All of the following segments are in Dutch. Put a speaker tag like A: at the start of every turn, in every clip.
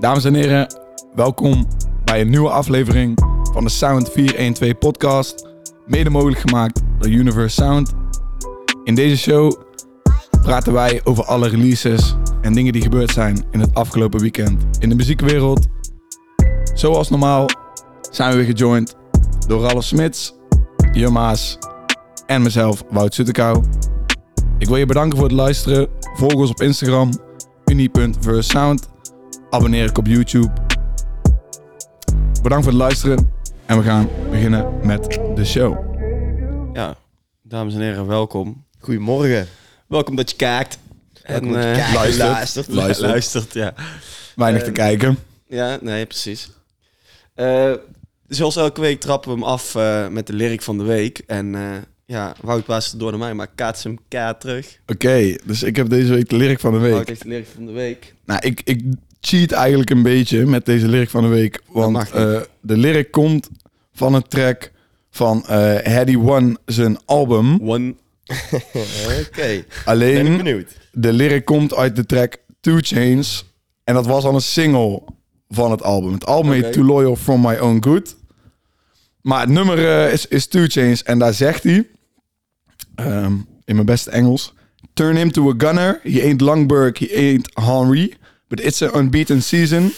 A: Dames en heren, welkom bij een nieuwe aflevering van de Sound 412 podcast. Mede mogelijk gemaakt door Universe Sound. In deze show praten wij over alle releases en dingen die gebeurd zijn in het afgelopen weekend in de muziekwereld. Zoals normaal zijn we weer gejoind door Ralf Smits, Jummaas en mezelf, Wout Suttekou. Ik wil je bedanken voor het luisteren. Volg ons op Instagram, uni.versound. Abonneer ik op YouTube. Bedankt voor het luisteren. En we gaan beginnen met de show.
B: Ja, dames en heren, welkom.
C: Goedemorgen.
B: Welkom dat je kijkt. En
C: Welkom dat je
B: eh,
C: kijkt,
A: luistert.
C: luistert.
B: Ja,
A: Luistert.
B: luistert, ja.
A: Weinig te kijken.
B: Ja, nee, precies. Eh, zoals elke week trappen we hem af eh, met de lyric van de week. En eh, ja, Wout paast het door naar mij, maar ik kaats hem kaart terug.
A: Oké, dus ik heb deze week de lyric van de
B: Wout
A: week.
B: heeft de lyric van de week.
A: Nou, ik, ik cheat eigenlijk een beetje met deze lyric van de week. Want
B: mag niet.
A: eh, de lyric komt van een track van eh Haddy One zijn album.
B: One.
C: Oké, ben ik
A: Alleen
C: benieuwd.
A: de lyric komt uit de track Two Chains. En dat was al een single van het album. Het album heet
B: Oké.
A: Too Loyal From My Own Good. Maar het nummer eh, is, is Two Chains. En daar zegt hij, ehm, in mijn beste Engels... Turn him to a gunner. He ain't Longberg. He ain't Henry. But it's an unbeaten season.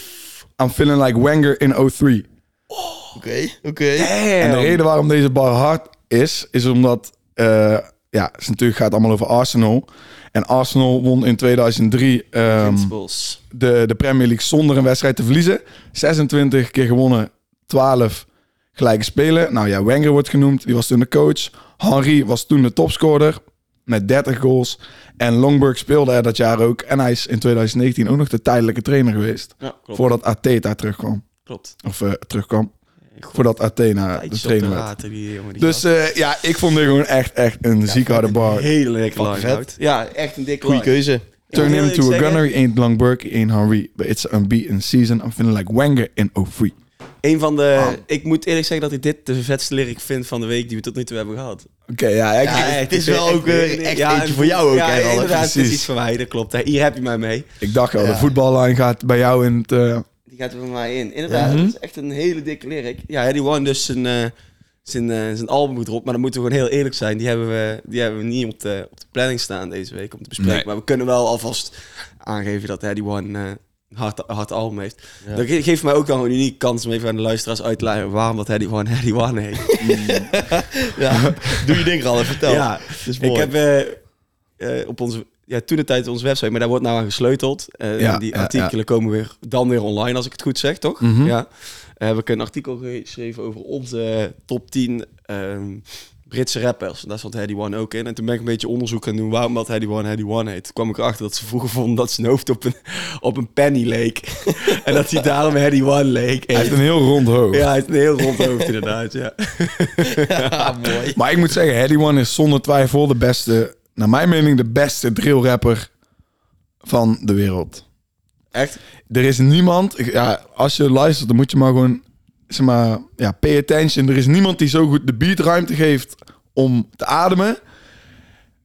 A: I'm feeling like Wenger in 03.
C: Oké, oké.
A: En de reden waarom deze bar hard is, is omdat eh, ja, het is natuurlijk gaat allemaal over Arsenal. En Arsenal won in 2003 ehm,
B: Principles.
A: de, de Premier League zonder een wedstrijd te verliezen. 26 keer gewonnen, 12 gelijke spelen. Nou ja, Wenger wordt genoemd, die was toen de coach. Henry was toen de topscorer met 30 goals. En Longberg speelde er dat jaar ook. En hij is in 2019 ook nog de tijdelijke trainer geweest.
B: Ja, klopt.
A: Voordat Ateta terugkwam.
B: klopt.
A: Of eh, terugkwam.
B: Goed.
A: Voordat Athena de
B: Tijdjes op
A: trainer
B: de
A: werd.
B: raten, die jongen. Die
A: Dus
B: gast.
A: eh, ja, ik vond dit gewoon echt, echt een ziek harde bar.
B: hele lekker lang,
C: vet.
B: Wout. Ja, echt een dikke
C: Goeie
B: lang.
C: keuze.
A: Turn him
B: wil eerlijk
A: to a
B: zeggen-
A: gunner, he ain't Longberg, he ain't Henry. But it's an unbeaten season, I'm feeling like Wenger in 03.
B: Een van de... Ik moet eerlijk zeggen dat ik dit de vetste lyric vind van de week die we tot nu toe hebben gehad.
A: Oké, ja, ik,
C: Ja,
B: echt,
C: het is
B: ik
C: wel
B: ben
C: ook weer
B: ik-
C: echt
B: ja,
C: eentje
B: en-
C: voor jou ook,
B: Ja,
C: hè, Ralf?
B: inderdaad, het is
A: Precies.
B: iets voor mij, dat klopt. Hè. Hier heb je mij mee.
A: ik dacht al, de
C: Ja.
A: voetballijn gaat bij jou in het... eh,
B: Die gaat er voor mij in. Inderdaad,
C: Mhm.
B: het is echt een hele dikke lyric. Ja, die One dus zijn, eh, zijn, eh, zijn album goed erop. Maar dan moeten we gewoon heel eerlijk zijn. Die hebben we, die hebben we niet op de, op de planning staan deze week om te bespreken.
A: Nee.
B: Maar we kunnen wel alvast aangeven dat Eddie One eh, een hard, een hard album heeft. Dat ge- geeft mij ook dan een unieke kans om even aan de luisteraars uit te leggen waarom dat Eddie One Eddie One heet.
C: Mm. Ja. Doe je ding, Ralf. Vertel.
B: Ja,
C: dat is mooi.
B: Ik heb eh, eh, op onze, ja, toen de tijd onze website, maar daar wordt nou aan gesleuteld. Eh,
A: Ja,
B: en die
A: ja,
B: artikelen komen weer, dan weer online, als ik het goed zeg, toch?
A: Mhm.
B: Ja. Eh, we hebben een artikel geschreven over onze top 10 ehm, Britse rappers. Daar zat Heady One ook in. En toen ben ik een beetje onderzoek gaan doen waarom dat Heady One Heady One heet. Toen kwam ik erachter dat ze vroeger vonden dat zijn hoofd op een, op een penny leek. en dat hij daarom Heady One leek.
A: hij heeft een heel rond hoofd.
B: Ja, hij heeft een heel rond hoofd inderdaad, ja.
C: Ja, mooi.
A: Maar ik moet zeggen, Heady One is zonder twijfel de beste... Naar mijn mening de beste drillrapper van de wereld.
B: Echt?
A: Er is niemand... ik- Ja, als je luistert, dan moet je maar gewoon... Zeg maar, ja, pay attention. Er is niemand die zo goed de beat ruimte geeft om te ademen...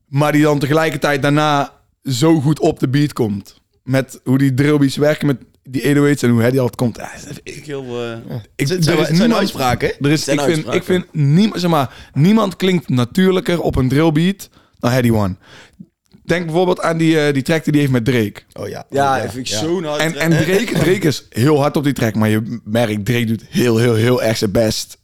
A: maar die dan tegelijkertijd daarna zo goed op de beat komt. Met hoe die drillbeats werken, met die 808's en hoe Heady altijd komt. Ja,
B: Ik heel... eh,
A: Ik,
C: Het zijn,
A: er is
C: het zijn
A: niemand-
C: uitspraken.
A: Er is,
B: Zijn
A: ik, vind, ik
B: uitspraken.
A: vind niemand, zeg maar, niemand klinkt natuurlijker op een drillbeat dan Heady One. Denk bijvoorbeeld aan die, eh, die track die hij heeft met Drake.
C: Oh ja.
B: Ja,
C: Oh,
B: dat vind ik
C: Ja.
B: zo'n hard.
A: En, en Drake, Drake is heel hard op die track, maar je merkt, Drake doet heel, heel, heel erg zijn best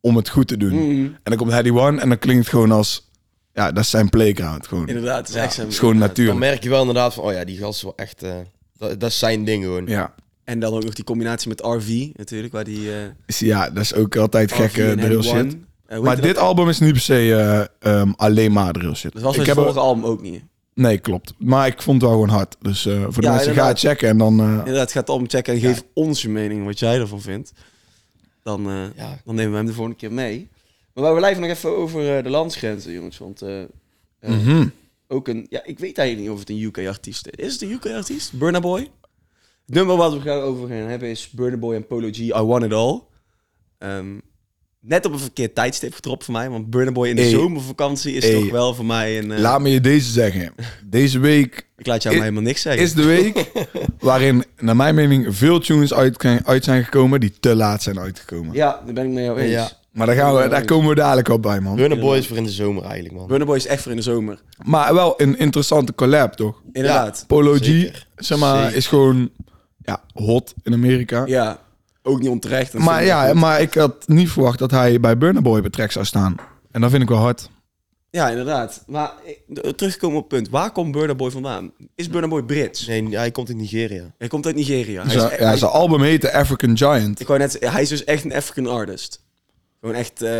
A: om het goed te doen.
B: Mm.
A: En dan komt Heady One en dan klinkt het gewoon als, ja, dat is zijn playground. Gewoon. Het
B: Inderdaad, het is echt zijn-
A: is gewoon
C: Dan
A: natuurlijk.
C: merk je wel inderdaad van, oh ja, die gast is wel echt... eh, dat, dat is zijn ding gewoon.
A: Ja.
B: En dan ook nog die combinatie met RV natuurlijk, waar die eh
A: Is- ja, dat is ook altijd
B: RV en
A: gekke drill
B: Heady Oh, One.
A: shit.
B: Eh, hoe
A: Maar
B: heet dat?
A: dit album is niet per se eh, ehm, alleen maar drill shit.
B: dat was
A: ik
B: het
A: heb er-
B: vorige album ook niet.
A: Nee, klopt. Maar ik vond het wel gewoon hard. Dus eh, voor de
B: Ja,
A: mensen, ga
B: inderdaad.
A: het checken en dan... eh,
B: Inderdaad, ga het album checken en geef ons je mening wat jij ervan vindt. Dan, eh,
C: Ja.
B: dan nemen we hem de volgende keer mee. Maar we blijven nog even over eh, de landsgrenzen, jongens. Want eh, eh,
A: mhm.
B: ook een... Ja, ik weet eigenlijk niet of het een UK-artiest is. Is het een UK-artiest? Burna Boy? Het nummer wat we gaan over gaan hebben is Burna Boy en Polo G, I Want It All. Ehm, net op een verkeerd tijdstip gedropt voor mij. Want Burna Boy in de
A: Hey.
B: zomervakantie is
A: Hey.
B: toch wel voor mij een... eh,
A: Laat me je deze zeggen. Deze week
B: ik laat jou
A: is-
B: maar helemaal niks zeggen.
A: is de week waarin, naar mijn mening, veel tunes uit, uit zijn gekomen die te laat zijn uitgekomen.
B: Ja, daar ben ik mee jou eens.
C: Ja.
A: Maar daar, gaan we, daar komen we dadelijk op bij, man.
C: Burner Boy is voor in de zomer eigenlijk, man.
B: Burna Boy is echt voor in de zomer.
A: Maar wel een interessante collab, toch?
B: Inderdaad.
A: Polo G,
C: Zeker.
A: zeg maar,
C: Zeker.
A: is gewoon ja, hot in Amerika.
B: Ja. Ook niet onterecht. Dat
A: Maar
B: vind ik
A: ja,
B: goed.
A: maar ik had niet verwacht dat hij bij Burna Boy betrekt zou staan. En dat vind ik wel hard.
B: ja, inderdaad. Maar ik- de- terugkomen op het punt. Waar komt Burna Boy vandaan? Is Burna Boy Brits?
C: Nee, hij komt uit Nigeria.
B: Hij komt uit Nigeria. Hij is,
A: Zijn,
B: echt-
A: ja,
B: hij-
A: zijn album heette African Giant.
B: ik wou net, hij is dus echt een African artist. Gewoon echt... eh,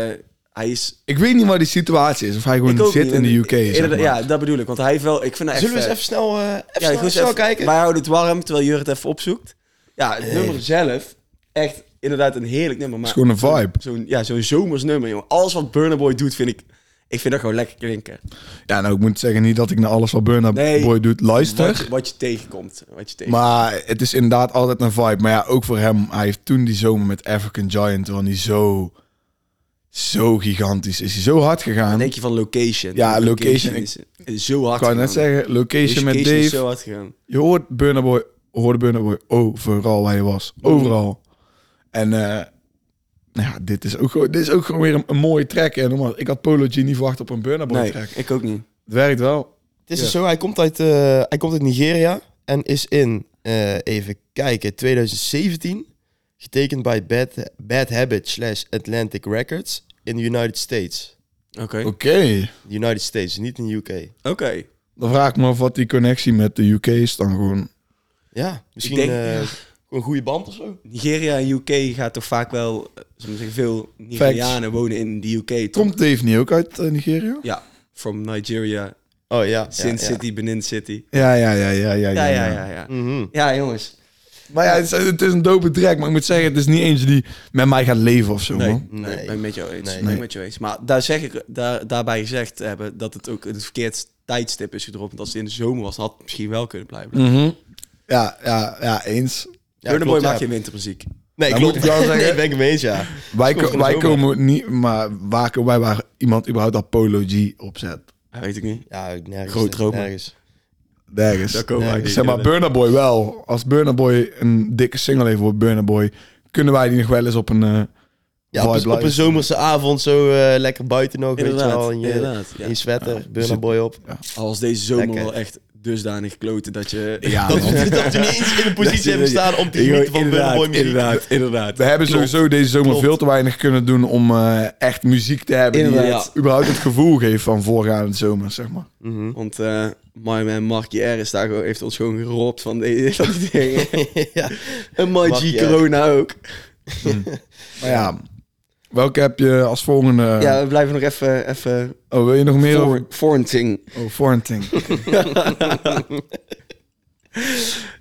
B: hij is...
A: Ik weet niet waar die situatie is. Of hij
B: ik ook
A: gewoon zit
B: niet,
A: in
B: en-
A: de UK. Zeg
B: inderdaad,
A: maar.
B: Ja, dat bedoel ik. Want hij heeft wel... Ik vind hij echt
C: Zullen we
B: vet.
C: eens even snel, eh even
B: Ja,
C: snel,
B: goed,
C: snel
B: even-
C: kijken?
B: Wij houden het warm terwijl Jur het even opzoekt. Ja, het nummer zelf, echt inderdaad een heerlijk nummer. Maar
A: Het is gewoon een vibe.
B: Zo'n, ja, zo'n zomers nummer, jongen. Alles wat Burner Boy doet, vind ik. Ik vind dat gewoon lekker klinken.
A: Ja, nou, ik moet zeggen niet dat ik naar alles wat Burna
B: Nee.
A: Boy doet
B: Wat,
A: luister.
B: je- wat je tegenkomt. Wat je tegen...
A: Maar het is inderdaad altijd een vibe. Maar ja, ook voor hem. Hij heeft toen die zomer met African Giant, want die zo, zo gigantisch is. Hij zo hard
B: Dan
A: gegaan.
B: denk je van location.
A: Ja, Location
B: is, is zo hard.
A: Ik wou net
B: gegaan.
A: zeggen, location met
B: Location is
A: Dave.
B: zo hard gegaan.
A: Je hoort Burna Boy, hoorde Burna Boy overal waar hij was. Overal. En eh, nou ja, dit is ook, gewoon- dit is ook gewoon weer een, een mooie track. En normaal, ik had Polo G niet verwacht op een Burna Boy
B: Nee,
A: track. Het
B: ik ook niet.
A: werkt wel.
C: Het is
A: Ja.
C: dus zo, hij komt, uit, eh, hij komt uit Nigeria en is in, eh, even kijken, 2017 getekend bij Bad, Bad Habit slash Atlantic Records in de United States.
B: Oké. Oké.
A: Oké.
C: De United States, niet in de UK.
A: Dan vraag ik me af wat die connectie met de UK is dan gewoon.
C: Ja, misschien
B: denk-
C: eh,
B: ja.
C: gewoon een goede band of zo. Oh,
B: Nigeria en UK gaat toch vaak wel, eh, zullen we zeggen, veel Nigerianen wonen in de UK. toch?
A: Komt Dave niet ook uit eh, Nigeria?
B: Ja, from Nigeria
C: Oh ja.
B: Sin
C: ja, ja.
B: City, Benin City.
A: Ja, ja, ja, ja, ja.
B: Ja, ja, ja, ja.
C: Mhm.
B: Ja, jongens.
A: Maar ja, het is, het is een dope track. Maar ik moet zeggen, het is niet eentje die met mij gaat leven of zo, man.
B: nee,
C: Nee.
B: ben ik met jou eens.
C: Nee.
B: Ben ik met jou eens. Maar daar zeg ik, daar, daarbij gezegd te hebben dat het ook een verkeerd tijdstip is gedropt. Want als het in de zomer was, dan had het misschien wel kunnen blijven.
A: Mhm. Ja, ja, ja, eens.
C: Ja,
B: Burna Boy
C: klopt, ja.
B: maakt geen wintermuziek.
C: Nee,
A: Dan
C: klopt.
A: moet ik wel zeggen-
C: Nee, ben ik hem eens, ja.
A: Wij,
C: School
A: ko-
C: van de
A: wij
C: zomer.
A: komen niet, maar waar komen wij waar iemand überhaupt Apollo G opzet?
B: Ja, weet ik niet.
C: Ja, nergens.
B: Groot dromen.
C: Nergens.
A: Nergens.
B: Daar komen wij
A: Nergens.
B: niet.
A: Zeg maar, Burna Boy wel. Als Burna Boy een dikke single heeft voor Burna Boy, kunnen wij die nog wel eens op een eh
C: Ja, op,
A: vibe
C: een- op een
A: live-
C: zomerse avond zo eh, lekker buiten nog, weet je
B: Inderdaad,
C: wel. In je,
B: inderdaad, ja. Dus-
C: in je sweater,
A: zit-
C: Burna Boy op.
B: Al was deze zomer
C: Lekker.
B: wel echt dusdanig kloten dat je...
A: Ja,
C: Dat,
A: man.
C: we- dat we niet eens in de positie hebben staan om te
B: Yo,
C: genieten van Burna
B: inderdaad,
C: Boy muziek.
B: Inderdaad, inderdaad.
A: We hebben
B: Klopt.
A: sowieso deze zomer
C: Klopt.
A: veel te weinig kunnen doen om eh, echt muziek te hebben die
B: Inderdaad.
A: het, überhaupt het gevoel geeft van voorgaande zomer, zeg maar.
C: Mhm.
B: Want eh my man Marky R is daar gewoon, heeft ons gewoon geropt van die, van die dingen.
C: ja.
B: En my
C: Marky
B: G
C: R.
B: Corona ook.
A: Maar ja, welke heb je als volgende?
B: Ja, we blijven nog even... even
A: Oh, wil je nog meer? over-
B: voor- Quarantine.
A: Oh, Forenting.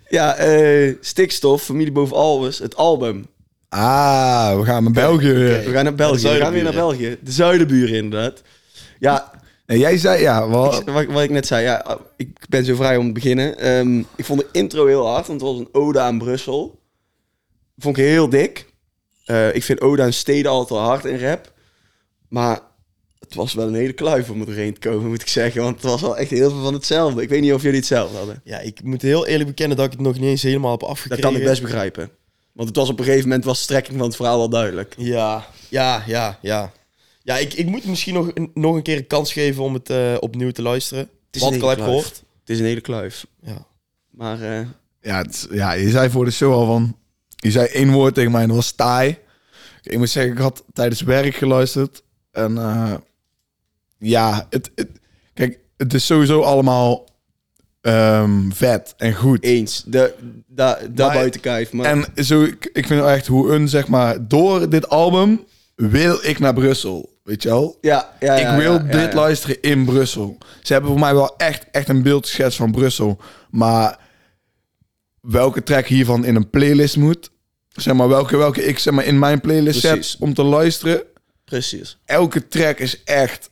B: Ja, eh, stikstof, familie boven alles, het album.
A: ah, we gaan naar België weer.
B: We gaan naar België. We gaan weer naar België. De zuidenburen, inderdaad. Ja,
A: En jij zei, ja, wel,
B: ik- wat, wat ik net zei, ja, oh, ik ben zo vrij om te beginnen. Ehm, ik vond de intro heel hard, want het was een ode aan Brussel. Vond ik heel dik. Eh, ik vind ode aan steden altijd al hard in rap. Maar het was wel een hele kluif om erheen te komen, moet ik zeggen. Want het was wel echt heel veel van hetzelfde. Ik weet niet of jullie hetzelfde hadden.
C: ja, ik moet heel eerlijk bekennen dat ik het nog niet eens helemaal heb
B: Dat
C: afgekregen.
B: kan ik best begrijpen. Want het was op een gegeven moment was de strekking van het verhaal al duidelijk.
C: Ja, ja, ja, ja. Ja, ik, ik moet misschien nog, een- nog een keer een kans geven om het eh, opnieuw te luisteren.
B: is
C: Wat
B: een
C: ik al heb
B: hele kluif.
C: gehoord.
B: Het is een hele kluif.
C: Ja.
B: Maar eh,
A: Ja, het is- ja, je zei voor de show al van... Je zei één woord tegen mij en dat was taai. Ik moet zeggen, ik had tijdens werk geluisterd. En eh, ja, het, het- kijk, het is sowieso allemaal ehm, vet en goed.
B: eens, de, da, daar buiten kijf. Maar
A: En zo, ik, ik vind echt hoe een, zeg maar, door dit album wil ik naar Brussel. Weet je wel?
B: ja, ja, ja,
A: ik wil
B: ja, ja,
A: dit
B: ja.
A: luisteren in Brussel. Ze hebben voor mij wel echt, echt een beeldschets van Brussel. Maar welke track hiervan in een playlist moet... Zeg maar, welke, welke ik zeg maar, in mijn playlist
B: Precies.
A: zet om te luisteren...
B: Precies.
A: Elke track is echt...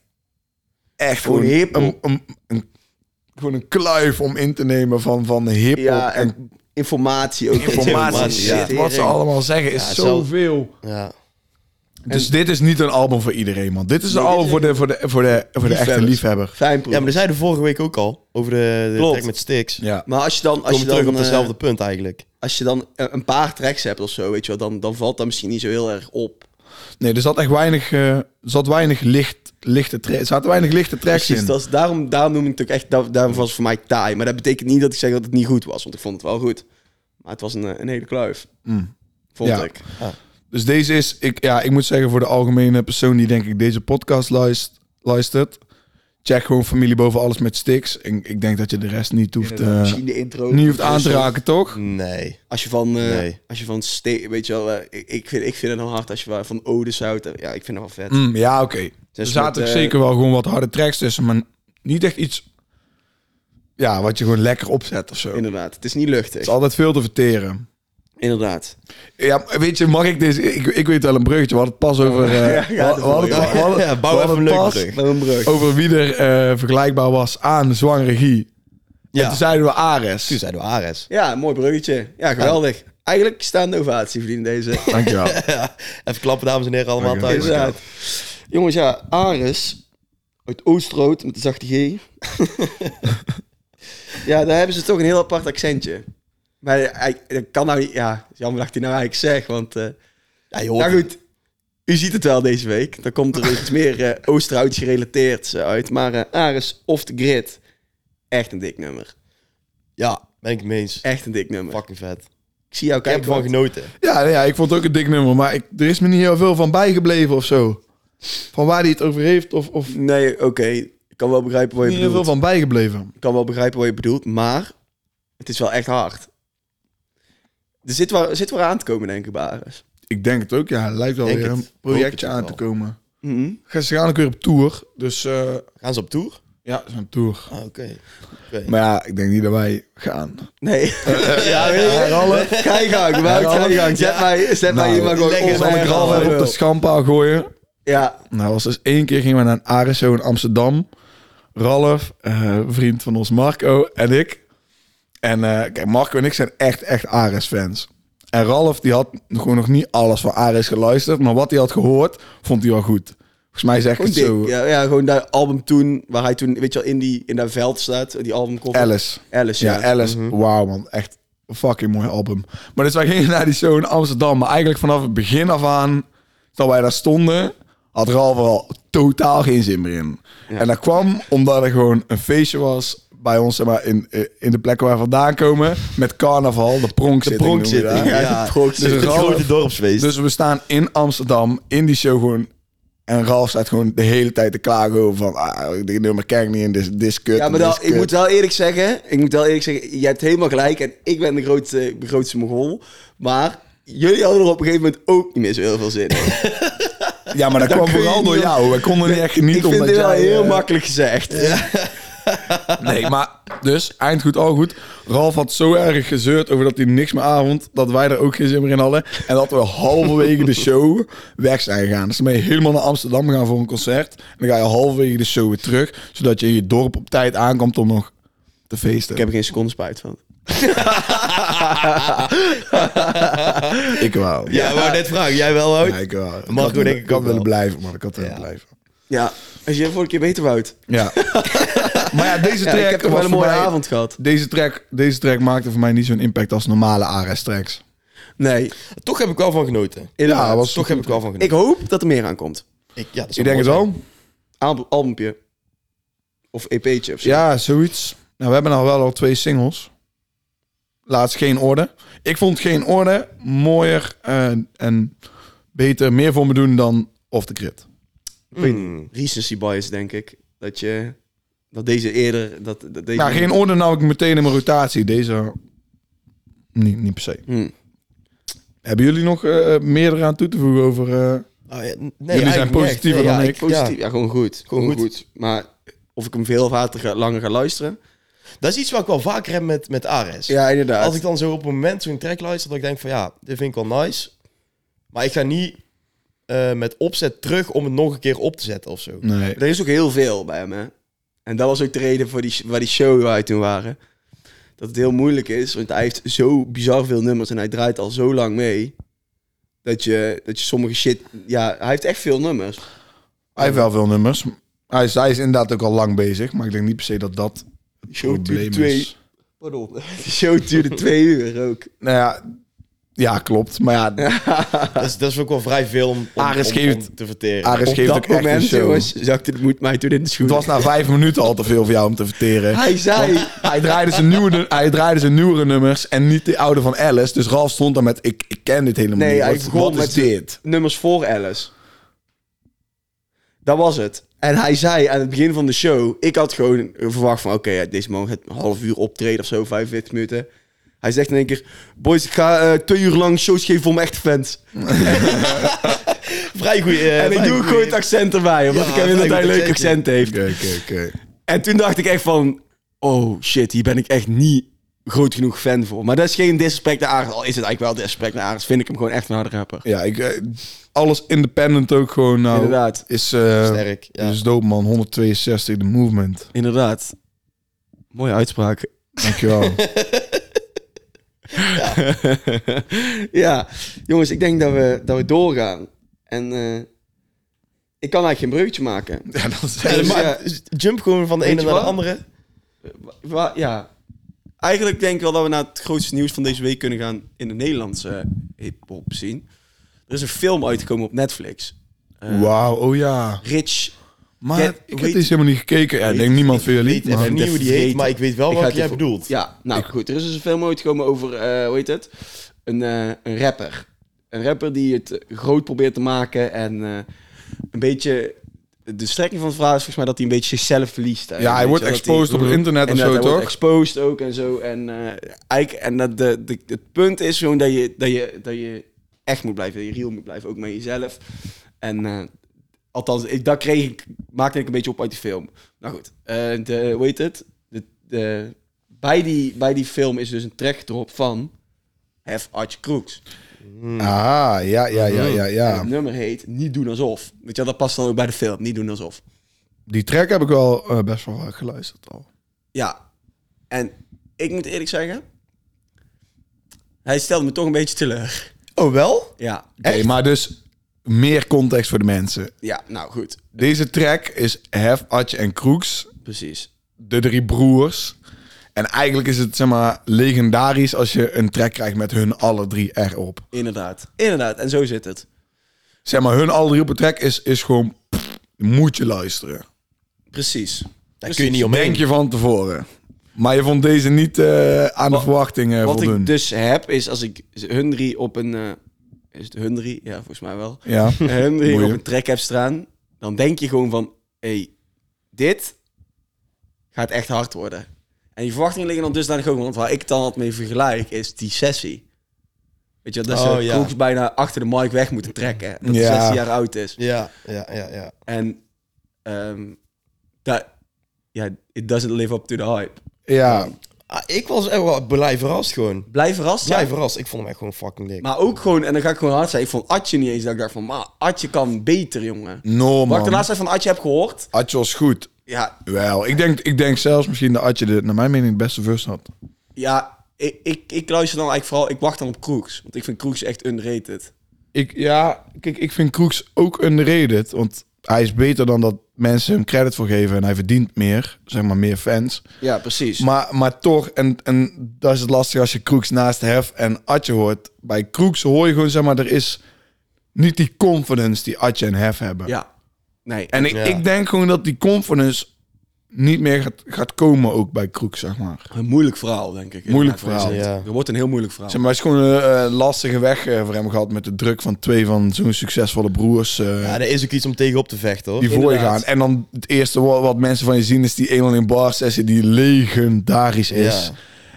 A: Echt
B: Gewoon
A: gewoon
B: hiphop.
A: Een, een, een- gewoon een kluif om in te nemen van, van hiphop
B: Ja,
A: en
B: en informatie ook.
A: informatie.
C: informatie, ja.
A: shit, Wat ze allemaal zeggen is
C: Ja, zo-
A: zoveel.
C: Ja.
A: Dus dit is niet een album voor iedereen, man. Dit is een album voor de, voor de, voor de, voor de echte
B: Liefhebbers.
A: liefhebber.
B: Fijn,
A: dus-
B: broer.
C: Ja, maar dat zeiden we vorige week ook al. Over de, de
B: Klopt.
C: track met Sticks.
A: Ja.
B: maar als je dan, als
C: Komen
B: je
C: we terug
B: dan
C: op
B: eh,
C: hetzelfde punt eigenlijk.
B: als je dan eh, een paar tracks hebt of zo, weet je wel, dan, dan valt dat misschien niet zo heel erg op.
A: Nee, er zat echt weinig, eh, er zat weinig licht, lichte tra- er zaten weinig lichte tracks
B: Precies,
A: in.
B: dat is, daarom, daarom noem ik het ook echt, daar- daarom was het voor mij taai. Maar dat betekent niet dat ik zeg dat het niet goed was, want ik vond het wel goed. Maar het was een, eh, een hele kluif. Vond
A: Mm. Ja.
B: ik.
A: Dus deze is, ik, ja, ik moet zeggen, voor de algemene persoon die denk ik deze podcast luist- luistert. Check gewoon familie boven alles met sticks. En ik denk dat je de rest niet hoeft, eh,
B: Misschien de intro.
A: niet hoeft aan te raken, toch?
C: Nee.
B: Als je van, eh,
C: Nee.
B: als je van ste- weet je wel, eh, ik, ik vind, ik vind het heel hard als je wa- van Odes houdt. eh, Ja, ik vind het wel vet.
A: Mm, ja, oké. Er
B: Dus
A: zaten
B: met, eh,
A: zeker wel gewoon wat harde tracks tussen, maar niet echt iets ja, wat je gewoon lekker opzet of zo. Het
B: Inderdaad, het is niet luchtig.
A: is altijd veel te verteren.
B: Inderdaad.
A: Ja, weet je, mag ik deze... Ik, ik weet wel een bruggetje. We hadden het pas over... eh,
B: Ja, ja,
A: we- we hadden het- we hadden-
C: Ja, bouw
A: we
C: even
A: hadden
C: een
A: het
C: leuke
A: pas
C: brug.
B: Met een brug.
A: Over wie er eh, vergelijkbaar was aan zwangere Guy. En
C: Ja,
A: toen zeiden we Ares.
C: toen zeiden we Ares.
B: Ja, mooi bruggetje. Ja, geweldig. Eigenlijk staande ovatie verdienen deze.
A: Dankjewel.
C: Even klappen, dames en heren, allemaal
A: Dankjewel.
C: thuis.
B: Inderdaad. Jongens, ja, Ares uit Oostrood met de zachte G. ja, daar hebben ze toch een heel apart accentje. Maar hij, dat kan nou niet. Ja, het is jammer dat ik die nou eigenlijk zeg, want. eh
C: Ja,
B: nou
C: joh.
B: goed, u ziet het wel deze week. Dan komt er iets meer eh Oosterhouds gerelateerd uit. Maar eh, Ares off the grid. Echt een dik nummer.
C: Ja, ben ik het mee eens.
B: Echt een dik nummer.
C: Fucking vet.
B: Ik zie jou
C: Ik heb
B: kijken.
C: ervan
B: want-
C: genoten.
A: ja, nee, ja, ik vond het ook een dik nummer, maar ik, er is me niet heel veel van bijgebleven of zo. Van waar hij het over heeft of... of
B: Nee, oké. Ik kan wel begrijpen wat je
A: niet heel veel
B: bedoelt.
A: van bijgebleven.
B: Ik kan wel begrijpen wat je bedoelt, maar het is wel echt hard. Er zit wel, zit wel aan te komen, denk ik, bij Ares.
A: Ik denk het ook, ja. Het lijkt wel
C: Denk
A: weer
C: het.
A: een projectje
C: Hoop het
A: aan te
C: wel.
A: komen.
B: Mhm.
A: Ga- Ze gaan ook weer op tour, dus... eh,
C: Gaan ze op tour?
A: ja, ze gaan op tour.
C: Ah, oké.
A: Maar ja, ik denk niet dat wij gaan.
B: Nee. ja, weet je.
A: Ralf?
B: Ga je gang, Wout, ga je gang. Zet mij, zet mij
A: Nou,
B: hier maar gewoon
C: lekker
B: om
A: Zal
C: zijn
B: en
A: ik
B: al.
A: Ralf even op de schandpaal gooien?
B: Ja,
A: Nou, was dus één keer gingen we naar een ARSO in Amsterdam. Ralf, eh, een vriend van ons Marco en ik. En eh, kijk, Marco en ik zijn echt, echt Ares-fans. En Ralf, die had gewoon nog niet alles van Ares geluisterd. Maar wat hij had gehoord, vond hij wel goed. Volgens mij zegt
B: gewoon
A: het
B: dik.
A: zo.
B: Ja, ja, gewoon dat album toen, waar hij toen, weet je wel, in, die, in dat veld staat. Die albumcover.
A: Alice.
B: Alice, ja.
A: Ja, Alice. Wauw, man. Echt een fucking mooi album. Maar dus wij gingen naar die show in Amsterdam. Maar eigenlijk vanaf het begin af aan, dat wij daar stonden, had Ralf er al totaal geen zin meer in. En dat kwam omdat er gewoon een feestje was bij ons, zeg maar, in, eh, in de plek waar we vandaan komen, met carnaval, de pronkzitting.
C: De
A: noemen we dat.
C: pronkzitting, ja.
B: Ja, de pronkzitting.
A: Dus
C: Het
A: Ralf-
C: grote dorpsfeest.
A: dus we staan in Amsterdam, in die show gewoon. En Ralf staat gewoon de hele tijd te klagen over van... Ah, dit nummer kijk ik niet in, dit is- dit is kut.
B: Ja, maar
A: dit is
B: dan, ik
A: kut.
B: moet wel eerlijk zeggen, ik moet wel eerlijk zeggen, je hebt helemaal gelijk en ik ben de grootste, de grootste mogol, maar jullie hadden er op een gegeven moment ook niet meer zo heel veel zin in.
A: Ja, maar dat
B: Dan
A: kwam
B: kun je
A: vooral
B: niet
A: door
B: op-
A: jou. Wij konden niet echt genieten.
B: ik vind
A: omdat
B: dit wel
A: jij,
B: heel
A: eh,
B: makkelijk gezegd.
A: Nee, maar dus, eind goed, al goed. Ralf had zo erg gezeurd over dat hij niks meer avond, dat wij er ook geen zin meer in hadden. En dat we halverwege de show weg zijn gegaan. Dus dan ben je helemaal naar Amsterdam gaan voor een concert. En dan ga je halverwege de show weer terug, zodat je in je dorp op tijd aankomt om nog te feesten.
B: Ik heb er geen seconde spijt van.
A: Ik wel.
C: Ja, maar net vragen. Jij wel,
A: Ja,
C: Hout?
A: ik wel. Ik
C: Marco
A: had-
C: denk ik
A: ik had
C: ook
A: willen
C: wel.
A: blijven, maar ik had willen
C: Ja.
A: blijven.
B: Ja, als je vorige keer beter wou.
A: Ja. maar ja, deze
B: Ja,
A: track
B: ik heb toch
A: was
B: wel een mooie
A: voor mij-
B: avond gehad.
A: Deze track, deze track maakte voor mij niet zo'n impact als normale Ares-tracks.
B: Nee,
C: Toch heb ik wel van genoten.
B: inderdaad.
A: Ja, was-
C: Toch heb ik wel van
B: Ik
C: genoten.
B: hoop dat er meer aankomt.
C: Ik, ja, dat is
A: Ik denk het
C: mooi.
A: wel.
B: Album, albumpje. Of EP'tje of zo.
A: Ja, zoiets. Nou, we hebben al wel al twee singles. Laatst geen orde. Ik vond geen orde mooier eh, en beter, meer voor me doen dan Off the Grid.
B: Ik weet
C: Mm.
B: niet. Recency bias, denk ik. Dat je... Dat deze eerder... Dat, dat deze
A: Maar geen orde nou ik meteen in mijn rotatie. Deze niet, niet per se.
B: Hm.
A: Hebben jullie nog eh, meer eraan toe te voegen over... eh,
C: Ah, ja, nee,
A: zijn
C: eigenlijk niet echt.
A: positiever
C: Nee,
A: dan
C: ja,
A: ik.
B: Positief. Ja, gewoon goed. Gewoon,
C: Gewoon
B: goed. Maar of ik hem veel of later ga, langer ga luisteren.
C: Dat is iets wat ik wel vaker heb met, met Ares.
B: Ja, inderdaad.
C: Als ik dan zo op een moment zo'n track luister, dat ik denk van ja, dit vind ik wel nice. Maar ik ga niet eh, met opzet terug om het nog een keer op te zetten of zo.
A: nee.
B: Er is ook heel veel bij hem, hè. En dat was ook de reden voor die, waar die show waar we toen waren. Dat het heel moeilijk is, want hij heeft zo bizar veel nummers en hij draait al zo lang mee. Dat je, dat je sommige shit... Ja, hij heeft echt veel nummers.
A: Hij heeft wel veel nummers. Hij is, hij is inderdaad ook al lang bezig, maar ik denk niet per se dat dat het
B: Show duurt
A: probleem
B: twee-
A: is.
B: Pardon. De show duurde twee uur ook.
A: Nou ja, ja, klopt. Maar ja,
C: Dat is, dat is ook wel vrij veel om, om,
A: Ares
C: om-
A: geeft-
C: om te verteren.
A: Ares
B: Op
A: geeft ook
B: dat
A: echt een
B: moment,
A: show.
B: jongens, zakte het moed mij toen in de
A: Het
B: schoenen.
A: was na vijf minuten al te veel voor jou om te verteren.
B: Hij zei...
A: Hij draaide, zijn nieuwe, hij draaide zijn nieuwere nummers en niet de oude van Alice. Dus Ralf stond daar met, ik, ik ken dit helemaal
B: Nee,
A: niet.
B: hij
A: Wat-
B: begon
A: wat is
B: met-
A: dit?
B: nummers voor Alice. Dat was het. En hij zei aan het begin van de show... Ik had gewoon verwacht van... Oké, ja, deze man gaat een half uur optreden of zo. 45 minuten. Hij zegt in één keer... Boys, ik ga eh, twee uur lang shows geven voor mijn echte fans.
C: Vrij goed.
B: en ik doe ook gewoon het accent erbij. Omdat
C: Ja,
B: ik hem in dat hij
C: vrij
B: een
C: goed
B: leuk
C: accentje.
B: accent heeft.
A: Oké, oké, oké.
B: En toen dacht ik echt van... Oh shit, hier ben ik echt niet groot genoeg fan voor. Maar dat is geen disrespect naar Ares. Al is het eigenlijk wel disrespect naar Ares. Vind ik hem gewoon echt een harde rapper.
A: Ja, ik, eh, alles independent ook gewoon nou...
B: Inderdaad.
A: Is, eh,
C: Sterk, ja.
B: Dus-
A: is dope man, 162, de movement.
B: Inderdaad. Mooie uitspraak.
A: Dankjewel.
B: ja, jongens, ik denk dat we, dat we doorgaan. En eh, ik kan eigenlijk geen breukje maken.
A: ja, dat is
C: Ja,
B: Dus,
C: maar
B: ja.
C: jump gewoon van de
B: Weet
C: ene
B: je
C: naar de
B: wat?
C: andere.
B: Wa- wa- ja. Eigenlijk denk ik wel dat we naar het grootste nieuws van deze week kunnen gaan in de Nederlandse eh, hip-hop zien. Er is een film uitgekomen op Netflix. Eh,
A: Wauw, oh ja.
B: Rich.
A: Maar
B: Get-
A: ik heb
B: weet-
A: deze helemaal niet gekeken. Ja, ik
B: weet-
A: denk niemand van jullie.
C: Weet
A: maar-
C: even niet hoe die heet,
B: vergeten.
C: maar ik weet wel
B: Ik ga
C: wat
B: het
C: jij
B: even-
C: bedoelt.
B: Ja, nou goed. Er is dus een film uitgekomen over, eh, hoe heet het? Een, eh, een rapper. Een rapper die het eh, groot probeert te maken en eh, een beetje... De strekking van het verhaal is volgens mij dat hij een beetje zichzelf verliest. hè.
A: Ja, hij
B: Weet
A: wordt
B: je, dat Mm-hmm.
A: exposed op het internet of
B: En dat
A: zo,
B: hij wordt
A: toch?
B: exposed ook en zo. En, eh, eigenlijk, en dat de, de, het punt is gewoon dat je, dat, je, dat je echt moet blijven, dat je real moet blijven, ook met jezelf. En eh, althans, ik, dat kreeg ik, maakte ik een beetje op uit die film. Nou goed, eh, de, hoe heet het? De, de, bij, die, bij die film is dus een track erop van Hef Arch Crooks.
A: Ah, ja, ja, ja, ja,
B: En
A: ja.
B: Het nummer heet Niet doen alsof. Weet je, wel, dat past dan ook bij de film, Niet doen alsof.
A: Die track heb ik wel eh, best wel vaak geluisterd al.
B: Ja. En ik moet eerlijk zeggen, hij stelde me toch een beetje teleur.
C: Oh, wel?
B: Ja.
A: Oké, maar dus meer context voor de mensen.
B: Ja, nou goed.
A: Deze track is Hef, Atje en Kroeks,
B: Precies.
A: de drie broers. En eigenlijk is het zeg maar legendarisch als je een track krijgt met hun alle drie erop.
B: Inderdaad. Inderdaad. En zo zit het.
A: Zeg maar, hun alle drie op een track is, is gewoon... pff, moet je luisteren.
B: Precies.
C: Daar
B: Precies.
C: kun je niet omheen.
A: Denk je van tevoren. Maar je vond deze niet eh, aan de
B: Wat-
A: verwachtingen
B: Wat
A: voldoen.
B: ik dus heb, is als ik hun drie op een... eh, is het hun drie? Ja, volgens mij wel.
A: Ja.
B: Hun drie
A: Moeilijk.
B: op een track heb staan, dan denk je gewoon van... hey, dit gaat echt hard worden. En je verwachtingen liggen dan dusdanig hoog. Want waar ik het dan altijd mee vergelijk, is die sessie. Weet je, wel, dat ze
C: Oh,
B: Kroeks
C: ja.
B: bijna achter de mic weg moeten trekken. Dat hij
A: Ja.
B: 16 jaar oud is.
C: Ja, ja, ja, ja.
B: En ehm dat, ja, it doesn't live up to the hype.
A: ja,
C: Ah, ik was echt wel blij verrast gewoon.
B: Blijf verrast,
C: Blij
B: ja.
C: verrast. Ik vond hem echt gewoon fucking dik.
B: Maar ook gewoon, en dan ga ik gewoon hard zijn, ik vond Atje niet eens dat ik dacht van, maar Atje kan beter, jongen.
A: no
B: Wat ik de
A: man.
B: laatste tijd van Atje heb gehoord,
A: Atje was goed.
B: ja,
A: Wel, ik denk, ik denk zelfs misschien dat Atje de, naar mijn mening, de beste verse had.
B: ja ik, ik, ik luister dan eigenlijk vooral, ik wacht dan op Kroeks. Want ik vind Kroeks echt underrated.
A: Ik, ja, kijk, ik vind Kroeks ook underrated. Want hij is beter dan dat mensen hem credit voor geven. En hij verdient meer, zeg maar, meer fans.
B: Ja, precies.
A: Maar, maar toch, en, en dat is het lastig als je Kroeks naast Hef en Atje hoort. Bij Kroeks hoor je gewoon, zeg maar, er is niet die confidence die Atje en Hef hebben.
B: ja, nee.
A: En ik,
C: Ja.
A: ik denk gewoon dat die confidence niet meer gaat, gaat komen ook bij Kroeks, zeg maar.
B: een moeilijk verhaal, denk ik.
A: Moeilijk
B: Inderdaad,
A: verhaal.
B: wezen.
C: Ja.
B: Er wordt een heel moeilijk verhaal.
A: Zeg maar, het is gewoon een eh, lastige weg eh, voor hem gehad met de druk van twee van zo'n succesvolle broers. eh,
C: Ja, er is ook iets om tegenop te vechten, hoor.
A: die voor je
B: inderdaad.
A: gaan. En dan het eerste wa- wat, mensen van je zien is die 101 bar sessie die legendarisch is.
C: Ja.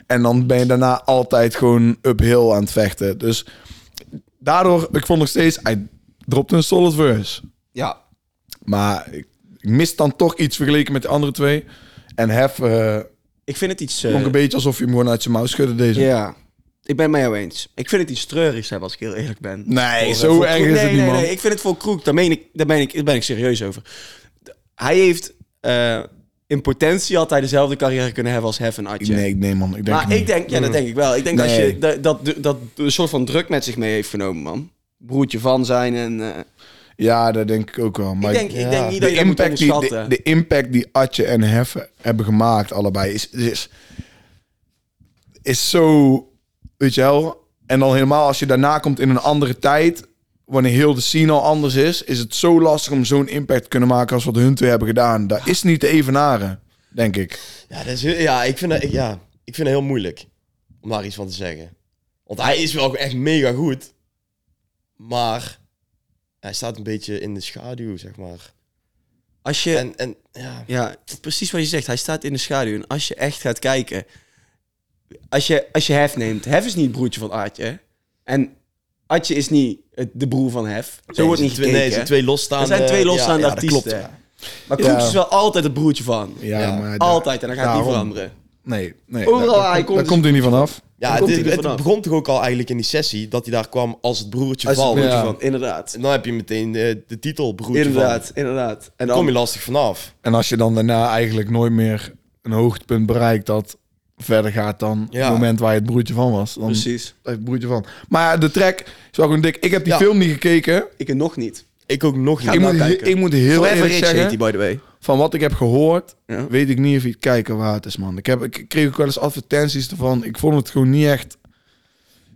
A: En dan ben je daarna altijd gewoon uphill aan het vechten. Dus daardoor, ik vond nog steeds, hij dropte een solid verse.
B: Ja,
A: Maar ik, ik mis dan toch iets vergeleken met de andere twee. En Hef eh
B: ik vind het iets... eh,
A: klonk een beetje alsof je hem gewoon uit zijn mouw schudde deze.
B: Ja, ik ben het met jou eens. Ik vind het iets treurigs hebben, als ik heel eerlijk ben.
A: Nee,
B: Voor,
A: zo
B: eh, voor
A: erg
B: Kroek-
A: is
B: nee,
A: het niet,
B: nee,
A: man.
B: Nee, ik vind het voor Kroek, daar, meen ik, daar, ben ik, daar ben ik serieus over. D- Hij heeft eh, in potentie altijd dezelfde carrière kunnen hebben als Hef en Atje.
A: Nee, nee man, ik denk
B: maar
A: het niet.
B: ik denk, ja, dat denk ik wel. Ik denk
A: Nee.
B: dat je dat, dat, dat een soort van druk met zich mee heeft genomen, man. broertje van zijn. En, eh,
A: Ja, dat denk ik ook wel. Maar
B: ik, denk,
C: ja,
B: ik denk niet
A: de,
B: dat je dat moet
A: impact die,
B: onderschatten.
A: de, de impact die Atje en Heffen hebben gemaakt, allebei, is, is, is zo, weet je wel. En dan helemaal als je daarna komt in een andere tijd, wanneer heel de scene al anders is, is het zo lastig om zo'n impact te kunnen maken als wat hun twee hebben gedaan. Dat is niet te evenaren, denk ik.
C: Ja, dat is, heel- ja, ik vind dat, ik- ja, ik vind het heel moeilijk om daar iets van te zeggen. Want hij is wel echt mega goed. Maar hij staat een beetje in de schaduw, zeg maar.
B: Als je,
C: En, en ja,
B: ja, precies wat je zegt, hij staat in de schaduw. En als je echt gaat kijken, als je, als je Hef neemt, Hef is niet het broertje van Atje. hè? En Atje is niet het- de broer van Hef. Zo wordt niet
C: twee,
B: gekeken.
C: nee, het zijn twee losstaande...
B: Er zijn twee
C: ja,
B: losstaande
C: ja, dat
B: artiesten.
C: klopt, ja.
B: Maar
A: Ja.
B: Kroeks is wel altijd het broertje van.
A: Ja,
C: Ja,
A: maar da-
B: Altijd, en dan gaat het niet
A: daarom.
B: veranderen.
A: Nee, nee.
B: Overal
A: daar-
B: waar hij
A: daar
B: komt dus is-
A: komt hij niet vanaf.
C: Ja,
B: Dan komt
C: het,
B: hij er
C: het
B: vanaf.
C: begon toch ook al eigenlijk in die sessie dat hij daar kwam als het broertje
B: Als het
C: van.
B: broertje
A: Ja.
B: van, inderdaad.
C: En dan heb je meteen de, de titel broertje
B: Inderdaad, inderdaad. En
C: van.
B: dan,
C: Kom je lastig vanaf.
A: En als je dan daarna eigenlijk nooit meer een hoogtepunt bereikt dat verder gaat dan
C: Ja.
A: het moment waar je het broertje van was. Dan
B: precies.
A: blijft het broertje van. Maar de track is wel gewoon dik. Ik heb die
C: Ja.
A: film niet gekeken.
B: Ik het nog niet.
C: Ik ook nog niet.
A: Ik moet, he-
B: nou kijken.
A: ik moet heel
B: Forever
A: eerlijk
B: Rich heet die,
A: zeggen,
B: by the way.
A: van wat ik heb gehoord,
B: Ja.
A: weet ik niet of je het kijken waard is, man. Ik, heb, ik kreeg ook wel eens advertenties ervan. Ik vond het gewoon niet echt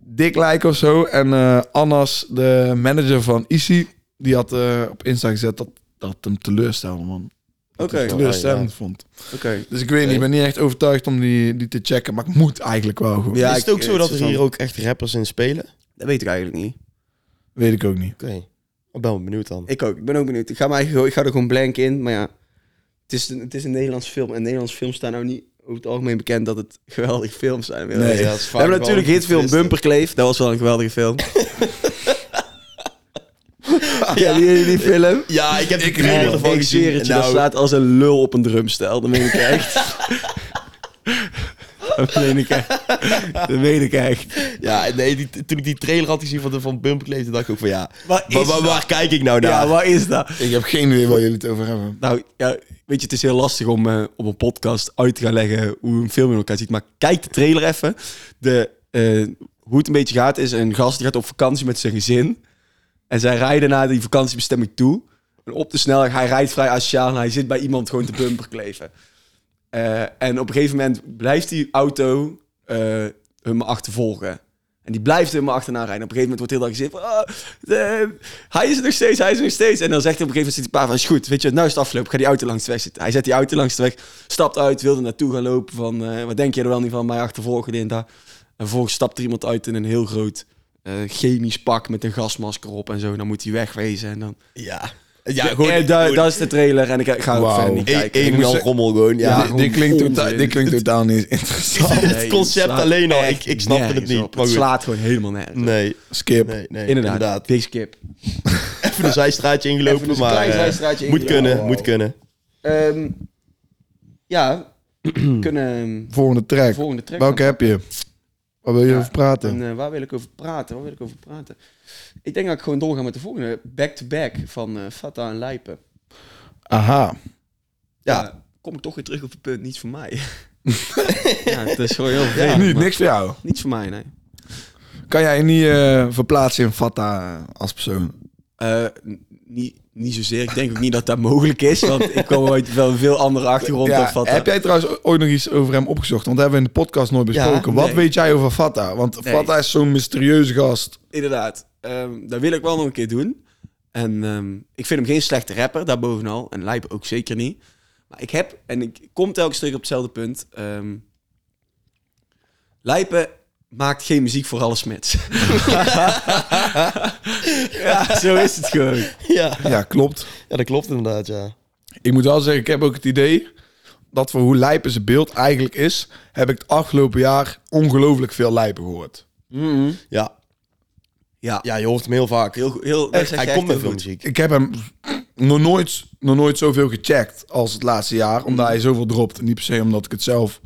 A: dik lijken of zo. En eh, Annas, de manager van Issy, die had eh, op Insta gezet dat, dat hem teleurstelde, man. Dat
B: Oké.
A: hij het teleurstellend
C: Ja,
A: vond.
B: Oké.
A: Dus ik weet niet, ik ben niet echt overtuigd om die, die te checken. Maar ik moet eigenlijk wel gewoon.
B: Ja,
C: is het
B: ik-
C: ook zo dat er
B: van-
C: hier ook echt rappers in spelen?
B: Dat weet ik eigenlijk niet.
A: Weet ik ook niet.
C: Oké. Ik ben wel benieuwd dan.
B: Ik ook. Ik ben ook benieuwd. Ik ga, mij, ik ga er gewoon blank in. Maar ja, het is, een- het is een Nederlands film. En Nederlands films staan nou niet over het algemeen bekend dat het geweldige films zijn. We
A: Nee,
C: dat is vaak
B: hebben
C: wel
B: natuurlijk
C: een
B: hitfilm
C: twist, hè.
B: Bumperkleef. Dat was wel een geweldige film. ja,
C: Ja.
B: die, die film.
C: Ja, ik heb
A: Ik
C: ik
A: weet
C: trailer
A: het.
C: ervan
B: Ik
C: gezien.
B: zweer het je, dat
C: Nou,
B: slaat als een lul op een drumstel. Dat meen ik echt. dat meen ik echt. Dat meen ik echt.
C: Ja, nee, die, toen ik die trailer had gezien van, de- van Bumpkleed, toen dacht ik ook van ja,
B: Wat is
C: waar, waar, waar kijk ik nou naar?
B: Ja, wat is dat?
A: Ik heb geen idee waar jullie het over hebben.
B: Nou, ja, weet je, het is heel lastig om eh, op een podcast uit te gaan leggen hoe een film in elkaar ziet. Maar kijk de trailer even. De, eh, hoe het een beetje gaat is, een gast die gaat op vakantie met zijn gezin. En zij rijden naar die vakantiebestemming toe. En op de snelweg, hij rijdt vrij asociaal en hij zit bij iemand gewoon te bumper kleven. Eh, en op een gegeven moment blijft die auto eh, hem achtervolgen. En die blijft hem achterna rijden. Op een gegeven moment wordt heel erg gezegd... van, "Ah, de- hij is er nog steeds, hij is er nog steeds. En dan zegt hij op een gegeven moment... zit die pa van, is goed, weet je wat, nou is het afgelopen. Ga die auto langs de weg zitten. Hij zet die auto langs de weg, stapt uit, wilde naartoe gaan lopen. Van, eh, wat denk je er wel niet van, mij achtervolgen, dit en daar. En vervolgens stapt er iemand uit in een heel groot eh, chemisch pak... met een gasmasker op en zo. Dan moet hij wegwezen. En dan...
C: Ja, ja
B: Eh,
C: gewoon,
B: daar-
C: gewoon
B: dat is de trailer en ik ga ook
A: Wauw.
B: verder niet
C: één-
B: kijken.
C: één
B: Ik
C: en al
B: moest-
C: rommel gewoon.
A: Ja,
C: Ja,
B: Ja,
A: dit,
B: gewoon
A: klinkt
B: onzin.
A: totaal, dit klinkt totaal niet interessant.
C: Het concept
B: slaat
C: alleen al,
B: echt
C: ik- ik snapte het
B: nergens
C: niet,
B: op.
C: maar
B: Het
C: goed.
B: slaat gewoon helemaal nergens. op.
C: nee,
A: Skip.
C: nee, nee.
B: Inderdaad, Big skip.
C: Even een zijstraatje ingelopen,
B: Even een
C: maar
B: klein
C: eh,
B: zijstraatje
C: moet
B: ingelopen.
C: kunnen,
B: Ja,
C: moet kunnen.
B: Ehm, ja, kunnen
A: Volgende track.
B: volgende track.
A: Welke heb je? Waar wil je over praten?
B: En, eh, waar wil ik over praten? Waar wil ik over praten? Ik denk dat ik gewoon doorga met de volgende. Back-to-back van eh Fata en Lijpen. Eh,
A: Aha.
C: Ja.
B: kom ik toch weer terug op het punt. Niet voor mij. ja, het is gewoon heel
A: Nee,
B: vreemd. maar
A: niks voor jou.
B: Niet voor mij, nee.
A: Kan jij je niet eh, verplaatsen in Fatta als persoon?
B: Eh, n- niet, niet zozeer. Ik denk ook niet dat dat mogelijk is. Want ik kwam uit wel een veel andere achtergrond dan
A: Ja,
B: Fata.
A: heb jij trouwens o- ooit nog iets over hem opgezocht? Want dat hebben we in de podcast nooit besproken. Wat
B: nee.
A: weet jij over Fatta? Want
B: Nee.
A: Fatta is zo'n mysterieuze gast.
B: inderdaad. Ehm dat wil ik wel nog een keer doen. En ehm, ik vind hem geen slechte rapper, daarbovenal. En Lijp ook zeker niet. Maar ik heb, en ik kom telkens terug op hetzelfde punt. ehm Lijpen maakt geen muziek voor alle smits. ja, zo is het gewoon.
C: Ja.
A: Ja, klopt.
C: ja, dat klopt inderdaad, ja.
A: Ik moet wel zeggen, ik heb ook het idee dat voor hoe lijpen zijn beeld eigenlijk is, heb ik het afgelopen jaar ongelooflijk veel lijpen gehoord. Mm-hmm.
C: Ja,
B: Ja,
C: ja je hoort hem heel vaak.
B: heel goed. Heel, dat
C: Echt,
B: zeg
C: hij
B: je
C: komt
B: heel
C: met veel
B: goed.
C: muziek.
A: Ik heb hem nog nooit, nog nooit zoveel gecheckt als het laatste jaar, omdat hij zoveel dropt. Niet per se omdat ik het zelf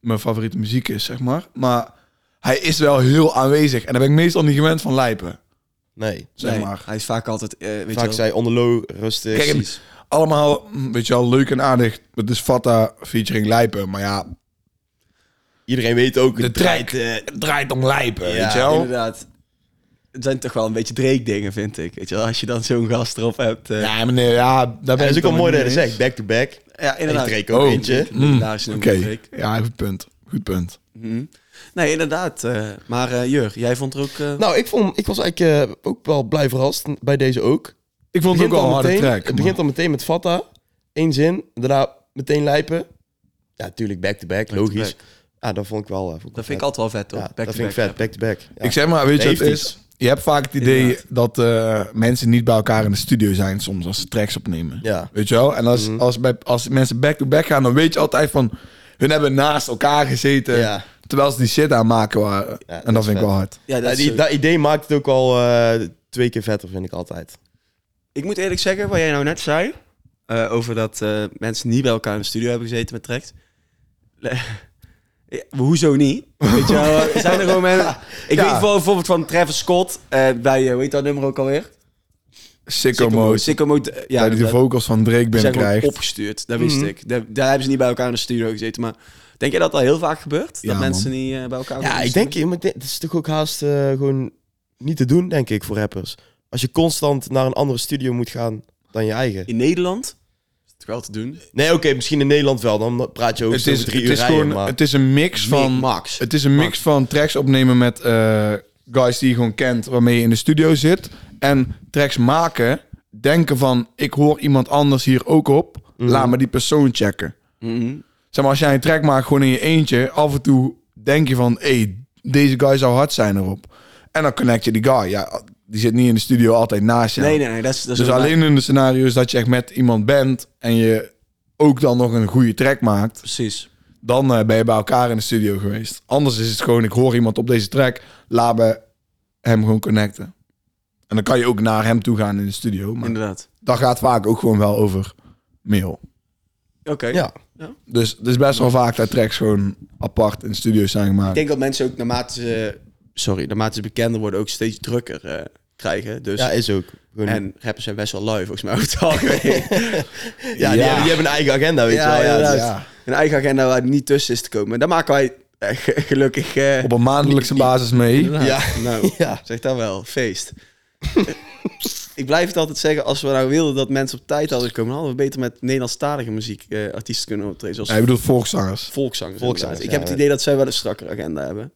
A: mijn favoriete muziek is, zeg maar. Maar hij is wel heel aanwezig en dat ben ik meestal niet gewend van lijpen,
C: Nee,
A: zeg
B: Nee,
A: maar.
B: Hij is vaak altijd, eh, weet
C: vaak
B: je wel,
C: zij onderlo, rustig.
A: Kijk,
B: precies.
A: Allemaal, mm, weet je wel, leuk en aardig. Het is Fatta featuring lijpen, maar ja,
C: Iedereen weet ook,
A: de
C: het
A: track
C: draait, eh,
A: draait om lijpen,
C: Ja,
A: weet je wel.
B: Inderdaad. het zijn toch wel een beetje Drake-dingen, vind ik. Weet je wel, als je dan zo'n gast erop hebt. eh,
A: Ja, meneer, ja, daar ben
C: dat
A: ik
C: is ook
A: dan
C: al mooi
A: niet
C: dat je dat
A: mee eens.
C: zegt. Back to back.
B: ja,
C: Ik
B: inderdaad.
C: Drake ook
A: Oh.
C: eentje.
A: Mm,
B: Daar is een
A: Oké,
B: Drake.
A: ja, goed punt. Goed punt.
B: Mhm. Nee, inderdaad. eh, maar eh Jur, jij vond er ook... eh,
C: Nou, ik, vond, ik was eigenlijk eh, ook wel blij verrast bij deze ook.
A: Ik vond het ook
C: Begint
A: wel
C: al
A: een harde
C: meteen-
A: track.
C: Het begint al meteen met Fatta. Eén zin, daarna meteen lijpen. Ja, natuurlijk back-to-back,
B: Back-to-back.
C: logisch. Ja, dat vond ik wel... eh, vond ik
B: dat
C: wel
B: vind ik altijd wel vet, hoor.
C: Ja,
B: Back-to-back
C: dat vind ik vet,
B: rappen.
C: back-to-back. Ja.
A: Ik zeg maar, weet je wat het
C: Heeft
A: is? Je hebt vaak het idee
B: Inderdaad.
A: dat eh, mensen niet bij elkaar in de studio zijn soms als ze tracks opnemen.
C: Ja. Mhm.
A: Weet je wel? En als, als, bij, als mensen back-to-back gaan, dan weet je altijd van... Hun hebben naast elkaar gezeten,
C: Ja.
A: terwijl ze die shit aanmaken waren.
C: Ja,
A: en
C: dat
A: dat
C: is
A: vind ik
C: vet.
A: wel hard.
B: Ja, dat
C: Ja,
B: is eh,
C: die,
B: zo.
C: dat idee maakt het ook al eh, twee keer vetter, vind ik altijd.
B: Ik moet eerlijk zeggen, wat jij nou net zei... eh, over dat eh, mensen niet bij elkaar in de studio hebben gezeten met tracks. Le- Ja, hoezo niet? Weet je wel, eh, zijn er gewoon mensen... Ik
A: Ja.
B: weet wel bijvoorbeeld van Travis Scott... eh, bij, eh, hoe heet dat nummer ook alweer?
A: Sicko mode.
B: Sicko Mode, eh, Ja,
A: dat hij de
B: inderdaad.
A: vocals van Drake
B: Die zijn gewoon
A: binnenkrijgt.
B: opgestuurd, dat wist
C: Mhm.
B: ik. Daar, daar hebben ze niet bij elkaar in de studio gezeten. Maar denk jij dat dat heel vaak gebeurt?
A: Ja,
B: dat
A: man.
B: mensen niet eh, bij elkaar
C: Ja,
B: in de
C: ik
B: studio-
C: denk, je moet- het is toch ook haast eh, gewoon niet te doen, denk ik, voor rappers. Als je constant naar een andere studio moet gaan dan je eigen.
B: In Nederland is het wel te doen.
C: Nee, oké, misschien in Nederland wel. Dan praat je ook
A: Het
C: zo
A: is,
C: over drie
A: het
C: uur
A: is
C: rijden,
A: gewoon
C: maar...
A: het is een mix van...
B: Max.
A: Het is een mix van tracks opnemen met eh, guys die je gewoon kent, waarmee je in de studio zit. En tracks maken, denken van, ik hoor iemand anders hier ook op. Laat me die persoon checken.
B: Mhm.
A: Zeg maar, als jij een track maakt gewoon in je eentje, af en toe denk je van, hé, hey, deze guy zou hard zijn erop. En dan connect je die guy. Ja, die zit niet in de studio altijd naast je.
B: Nee, nee, nee. Dat is, dat is
A: Dus
B: wel-
A: alleen in de scenario's dat je echt met iemand bent en je ook dan nog een goede track maakt,
B: Precies.
A: dan eh, ben je bij elkaar in de studio geweest. Anders is het gewoon, ik hoor iemand op deze track, laat me hem gewoon connecten. En dan kan je ook naar hem toe gaan in de studio. Maar
B: Inderdaad.
A: dat gaat vaak ook gewoon wel over mail.
B: Oké.
C: Ja.
A: Dus het is best wel vaak dat tracks gewoon apart in de studio zijn
B: Ik
A: gemaakt.
B: denk dat mensen ook naarmate ze... Sorry, naarmate ze bekender worden ook steeds drukker eh, krijgen. Dus...
C: ja, is ook. Gewoon-
B: en rappers zijn best wel lui, volgens mij, over het algemeen.
C: ja, Die,
A: Ja.
C: hebben, die hebben een eigen agenda, weet
B: Ja,
C: je wel. Ja,
B: inderdaad.
C: dus-
A: Ja,
B: Een eigen agenda waar niet tussen is te komen. En daar maken wij eh, ge- gelukkig... eh,
A: op een maandelijkse basis mee.
B: Ja, nou,
C: Ja.
B: zeg dat wel. Feest. ik blijf het altijd zeggen, als we nou wilden dat mensen op tijd hadden komen, hadden we beter met Nederlandstalige muziek eh, artiesten kunnen optreden, zoals
A: Ja, ik bedoel volkszangers.
B: volkszangers.
C: Volkszangers,
B: inderdaad. Ik
C: ja,
B: heb het
C: ja.
B: idee dat zij wel een strakkere agenda hebben.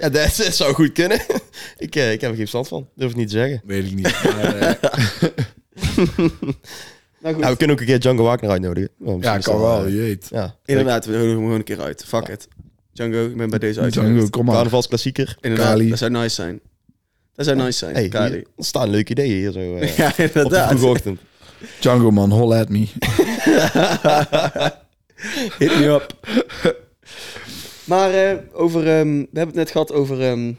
C: Ja, dat, dat zou goed kunnen. ik, eh, ik heb er geen verstand van. Durf het niet te zeggen.
A: Weet ik niet. Maar, eh,
B: Nou goed,
C: Ja, we kunnen ook een keer Django Wagner uitnodigen. Oh, misschien
A: ja,
C: is
A: kan
C: dat,
A: wel,
C: eh,
A: jeet.
C: Ja.
B: inderdaad, we houden hem gewoon een keer uit. Fuck it. Django, ik ben bij deze uit.
A: Django, kom maar.
C: Carnavalsklassieker.
B: Inderdaad,
A: Kali.
B: dat zou nice zijn. Dat zou nice zijn,
C: Hey,
B: Kali.
C: hier staan leuke ideeën hier zo. eh,
B: Ja,
C: op de
B: inderdaad.
C: vroege ochtend.
A: Django man, holla at me.
B: Hit me up. maar eh, over, ehm, we hebben het net gehad over ehm,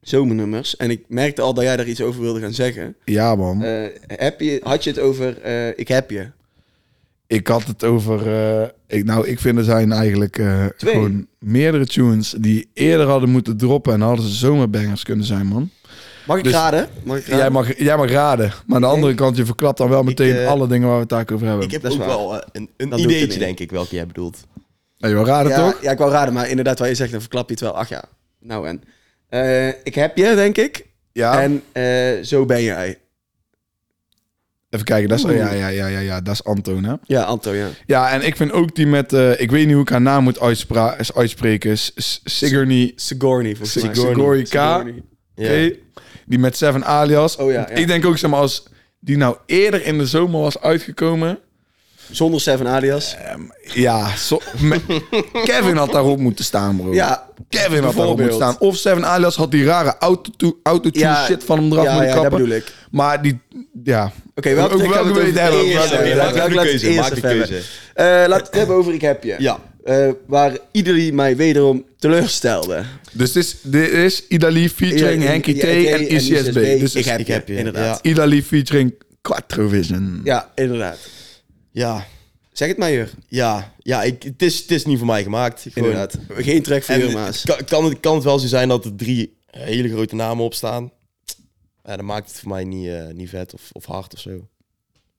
B: zomernummers. En ik merkte al dat jij daar iets over wilde gaan zeggen.
A: Ja man.
B: Eh, heb je, had je het over eh, ik heb je?
A: Ik had het over. eh, ik, nou, ik vind er zijn eigenlijk eh,
B: Twee.
A: gewoon meerdere tunes die eerder hadden moeten droppen en dan hadden ze zomerbangers kunnen zijn, man.
B: Mag ik
A: Dus-
B: raden? Mag ik
A: Jij, mag, jij mag raden. Maar aan de andere kant, je verklapt dan wel meteen
C: eh,
A: alle dingen waar we het daar over hebben. Ik
C: Ik heb
B: Dat is
C: ook
B: waar.
C: wel eh, een, een
B: Dan doe ik
C: ideetje,
B: het niet.
C: denk ik, welke jij bedoelt.
A: je wil raden
B: ja,
A: toch?
B: ja, ik wou raden, maar inderdaad, wat je zegt, dan verklap je het wel. Ach ja, nou en. Eh, ik heb je, denk ik.
A: Ja.
B: En eh, zo ben jij.
A: Even kijken, dat is, oh, ja, ja, ja, ja, ja, dat is Anton, hè?
B: Ja, Anto, ja.
A: Ja, en ik vind ook die met. eh, ik weet niet hoe ik haar naam moet uitspra- is uitspreken. S- S- Sigourney.
B: Sigourney, volgens mij.
A: Sigourney. Sigourney K.
B: Sigourney.
C: Ja.
A: Oké. Die met Seven Alias.
B: Oh ja, ja.
A: Ik denk ook, zeg maar, als die nou eerder in de zomer was uitgekomen.
B: Zonder Seven Alias.
A: Oh. Ja, zo- me- Kevin had daarop moeten staan, bro.
B: ja,
A: Kevin had daarop
B: bijvoorbeeld.
A: moeten staan. Of Seven Alias had die rare autotune
B: Ja,
A: shit van hem eraf
B: ja,
A: moeten
B: ja, dat
A: kappen.
B: bedoel ik.
A: Maar die, ja.
B: Oké, welke,
A: Ook
B: trek
A: welke
B: gaan
A: wil je het
B: over?
A: hebben?
B: Eerst,
A: Welke-
B: eh,
A: welke-
B: welke-
C: welke
B: laten we
C: keuze?
B: het eerst
C: Maak die
B: even
C: keuze.
B: hebben. Eh, laten we het hebben over Ik heb je.
C: Ja.
B: Eh, waar iedereen mij wederom teleurstelde.
A: Dus dit is, dit is Idali featuring
B: Ja,
A: Henky T
B: ja, ja,
A: en ICSB. Dus
B: ik heb,
C: ik
B: je,
C: heb je,
B: inderdaad.
A: Idali featuring Quattrovision.
B: Ja. inderdaad.
C: Ja,
B: Zeg het maar, Jur.
C: ja, ja ik, het, is, het is niet voor mij gemaakt. Gewoon.
B: Inderdaad. Geen trek voor
C: En
B: Jur,
C: het
B: Maas.
C: kan, kan, het, kan het wel zo zijn dat er drie hele grote namen op staan? Ja, dan maakt het voor mij niet, eh, niet vet of, of hard of zo.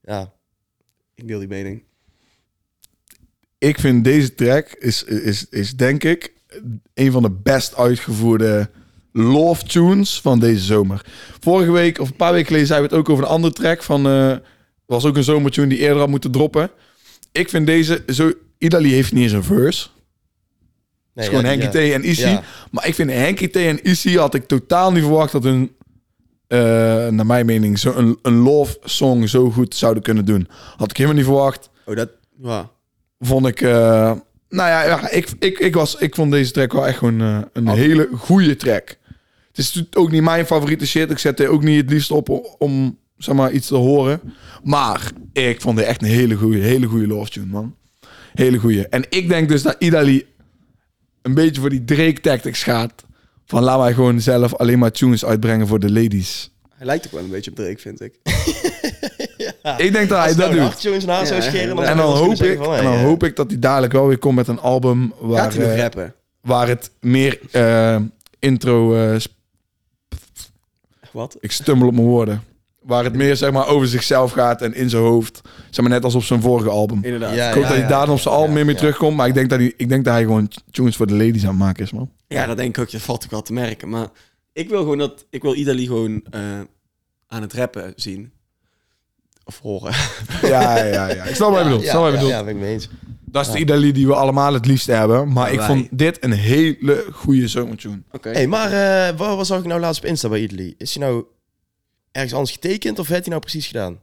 C: Ja,
B: Ik deel die mening.
A: Ik vind deze track is, is, is denk ik een van de best uitgevoerde love tunes van deze zomer. Vorige week, of een paar weken geleden, zeiden we het ook over een andere track. Van, eh, was ook een zomertune die eerder had moeten droppen. Ik vind deze, zo, Idali heeft niet eens een verse.
C: Nee,
A: Het is gewoon
C: ja,
A: Henky
C: ja.
A: T en Issy.
C: Ja.
A: Maar ik vind Henky T en Issy had ik totaal niet verwacht dat hun, eh, naar mijn mening, zo een, een love song zo goed zouden kunnen doen. Had ik helemaal niet verwacht.
B: Oh, dat... Ja.
A: Vond ik, eh, nou ja, ja, ik, ik, ik, was, ik vond deze track wel echt gewoon eh, een hele goede track. Het is natuurlijk ook niet mijn favoriete shit. Ik zet er ook niet het liefst op o- om zeg maar, iets te horen. Maar ik vond het echt een hele goede, hele goede love tune, man. Hele goede. En ik denk dus dat Idali een beetje voor die Drake tactics gaat. Van laat mij gewoon zelf alleen maar tunes uitbrengen voor de ladies.
B: Hij lijkt ook wel een beetje op Drake, vind ik.
A: Ik denk dat hij
C: Als
A: dat
C: nou
A: doet.
C: een hartje in zijn haar zou
B: Ja,
C: scheren...
B: inderdaad.
A: En dan, hoop ik,
C: van,
A: en dan hoop ik dat hij dadelijk wel weer komt met een album waar...
B: Gaat hij nog
A: eh,
B: rappen?
A: waar het meer eh, intro. eh, sp-
B: Wat?
A: ik stummel op mijn woorden. Waar het meer zeg maar over zichzelf gaat en in zijn hoofd. Zeg maar net als op zijn vorige album. Ik
B: Inderdaad.
C: Ja,
B: Ja,
A: hoop dat hij
C: ja,
A: daar dan op zijn album
C: ja,
A: meer mee
C: ja.
A: terugkomt. Maar ik denk, dat hij, ik denk dat hij gewoon tunes voor de ladies aan het maken is, man.
B: dat denk ik ook. Dat valt ook wel te merken. Maar ik wil gewoon dat... Ik wil Idali gewoon eh, aan het rappen zien. Of horen.
A: Ja, ja, ja. Ik snap wat je bedoelt. ik snap wat je
C: ja,
A: bedoelt.
C: ja, ben ik mee eens.
A: Dat is de Idali die we allemaal het liefst hebben. Maar
B: Ja,
A: ik
B: wij.
A: vond dit een hele goede zomertune.
B: Oké.
C: Hey, maar eh, wat, wat zag ik nou laatst op Insta bij Idli? Is hij nou ergens anders getekend of heeft hij nou precies gedaan?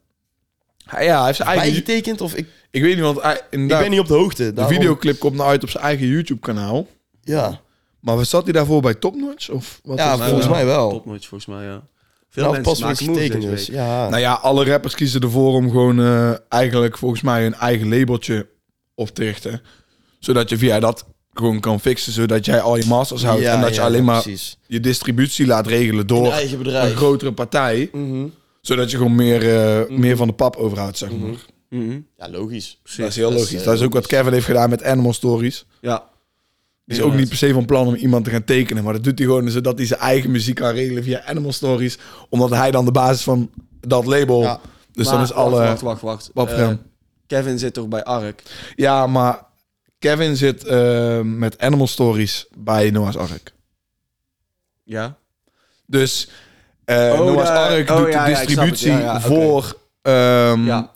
A: Ja, hij heeft zijn
C: Bij
A: eigen...
C: getekend of ik,
A: Ik weet niet, want hij,
C: ik
A: inderdaad,
C: ben niet op de hoogte.
A: Nou, de
C: daarom-
A: videoclip komt nou uit op zijn eigen YouTube-kanaal.
C: Ja,
A: Maar wat zat hij daarvoor bij Top Notch? Of wat
C: ja
A: was het?
C: volgens
B: wel.
C: mij wel.
B: Topnotch volgens mij, ja. Veel
C: Nou, pas
B: mensen
C: voor
B: maken
C: het
B: moves
C: getekend
B: deze
C: dus.
B: week.
C: Ja.
A: Nou ja, alle rappers kiezen ervoor om gewoon eh, eigenlijk volgens mij een eigen labeltje op te richten. Zodat je via dat gewoon kan fixen, zodat jij al je masters houdt.
C: Ja,
A: en dat
C: ja,
A: je alleen maar
C: Precies.
A: je distributie laat regelen door
C: eigen
A: een
C: bedrijf.
A: grotere partij.
C: Mhm.
A: Zodat je gewoon meer, eh, meer van de pap overhoudt, zeg maar.
B: Mhm.
C: Ja, logisch.
A: Dat is heel
C: Dat is,
A: logisch.
C: eh,
A: dat is ook wat Kevin heeft gedaan met Animal Stories.
B: Ja.
A: Die is ook niet per se van plan om iemand te gaan tekenen. Maar dat doet hij gewoon zodat hij zijn eigen muziek kan regelen via Animal Stories. Omdat hij dan de basis van dat label...
C: Ja,
A: dus
B: Maar
A: dan is
B: wacht,
A: alle...
B: Wacht, wacht, wacht.
A: papgram.
B: Eh, Kevin zit toch bij ARK?
A: Eh, Ja, maar Kevin zit eh, met Animal Stories bij Noah's Ark.
B: Ja.
A: Dus eh, Noah's
B: daar-
A: Ark
B: oh,
A: doet
B: ja,
A: de
B: ja, ik snap het.
A: distributie
B: Ja, ja, oké.
A: voor
C: Mm,
A: ehm,
B: Ja.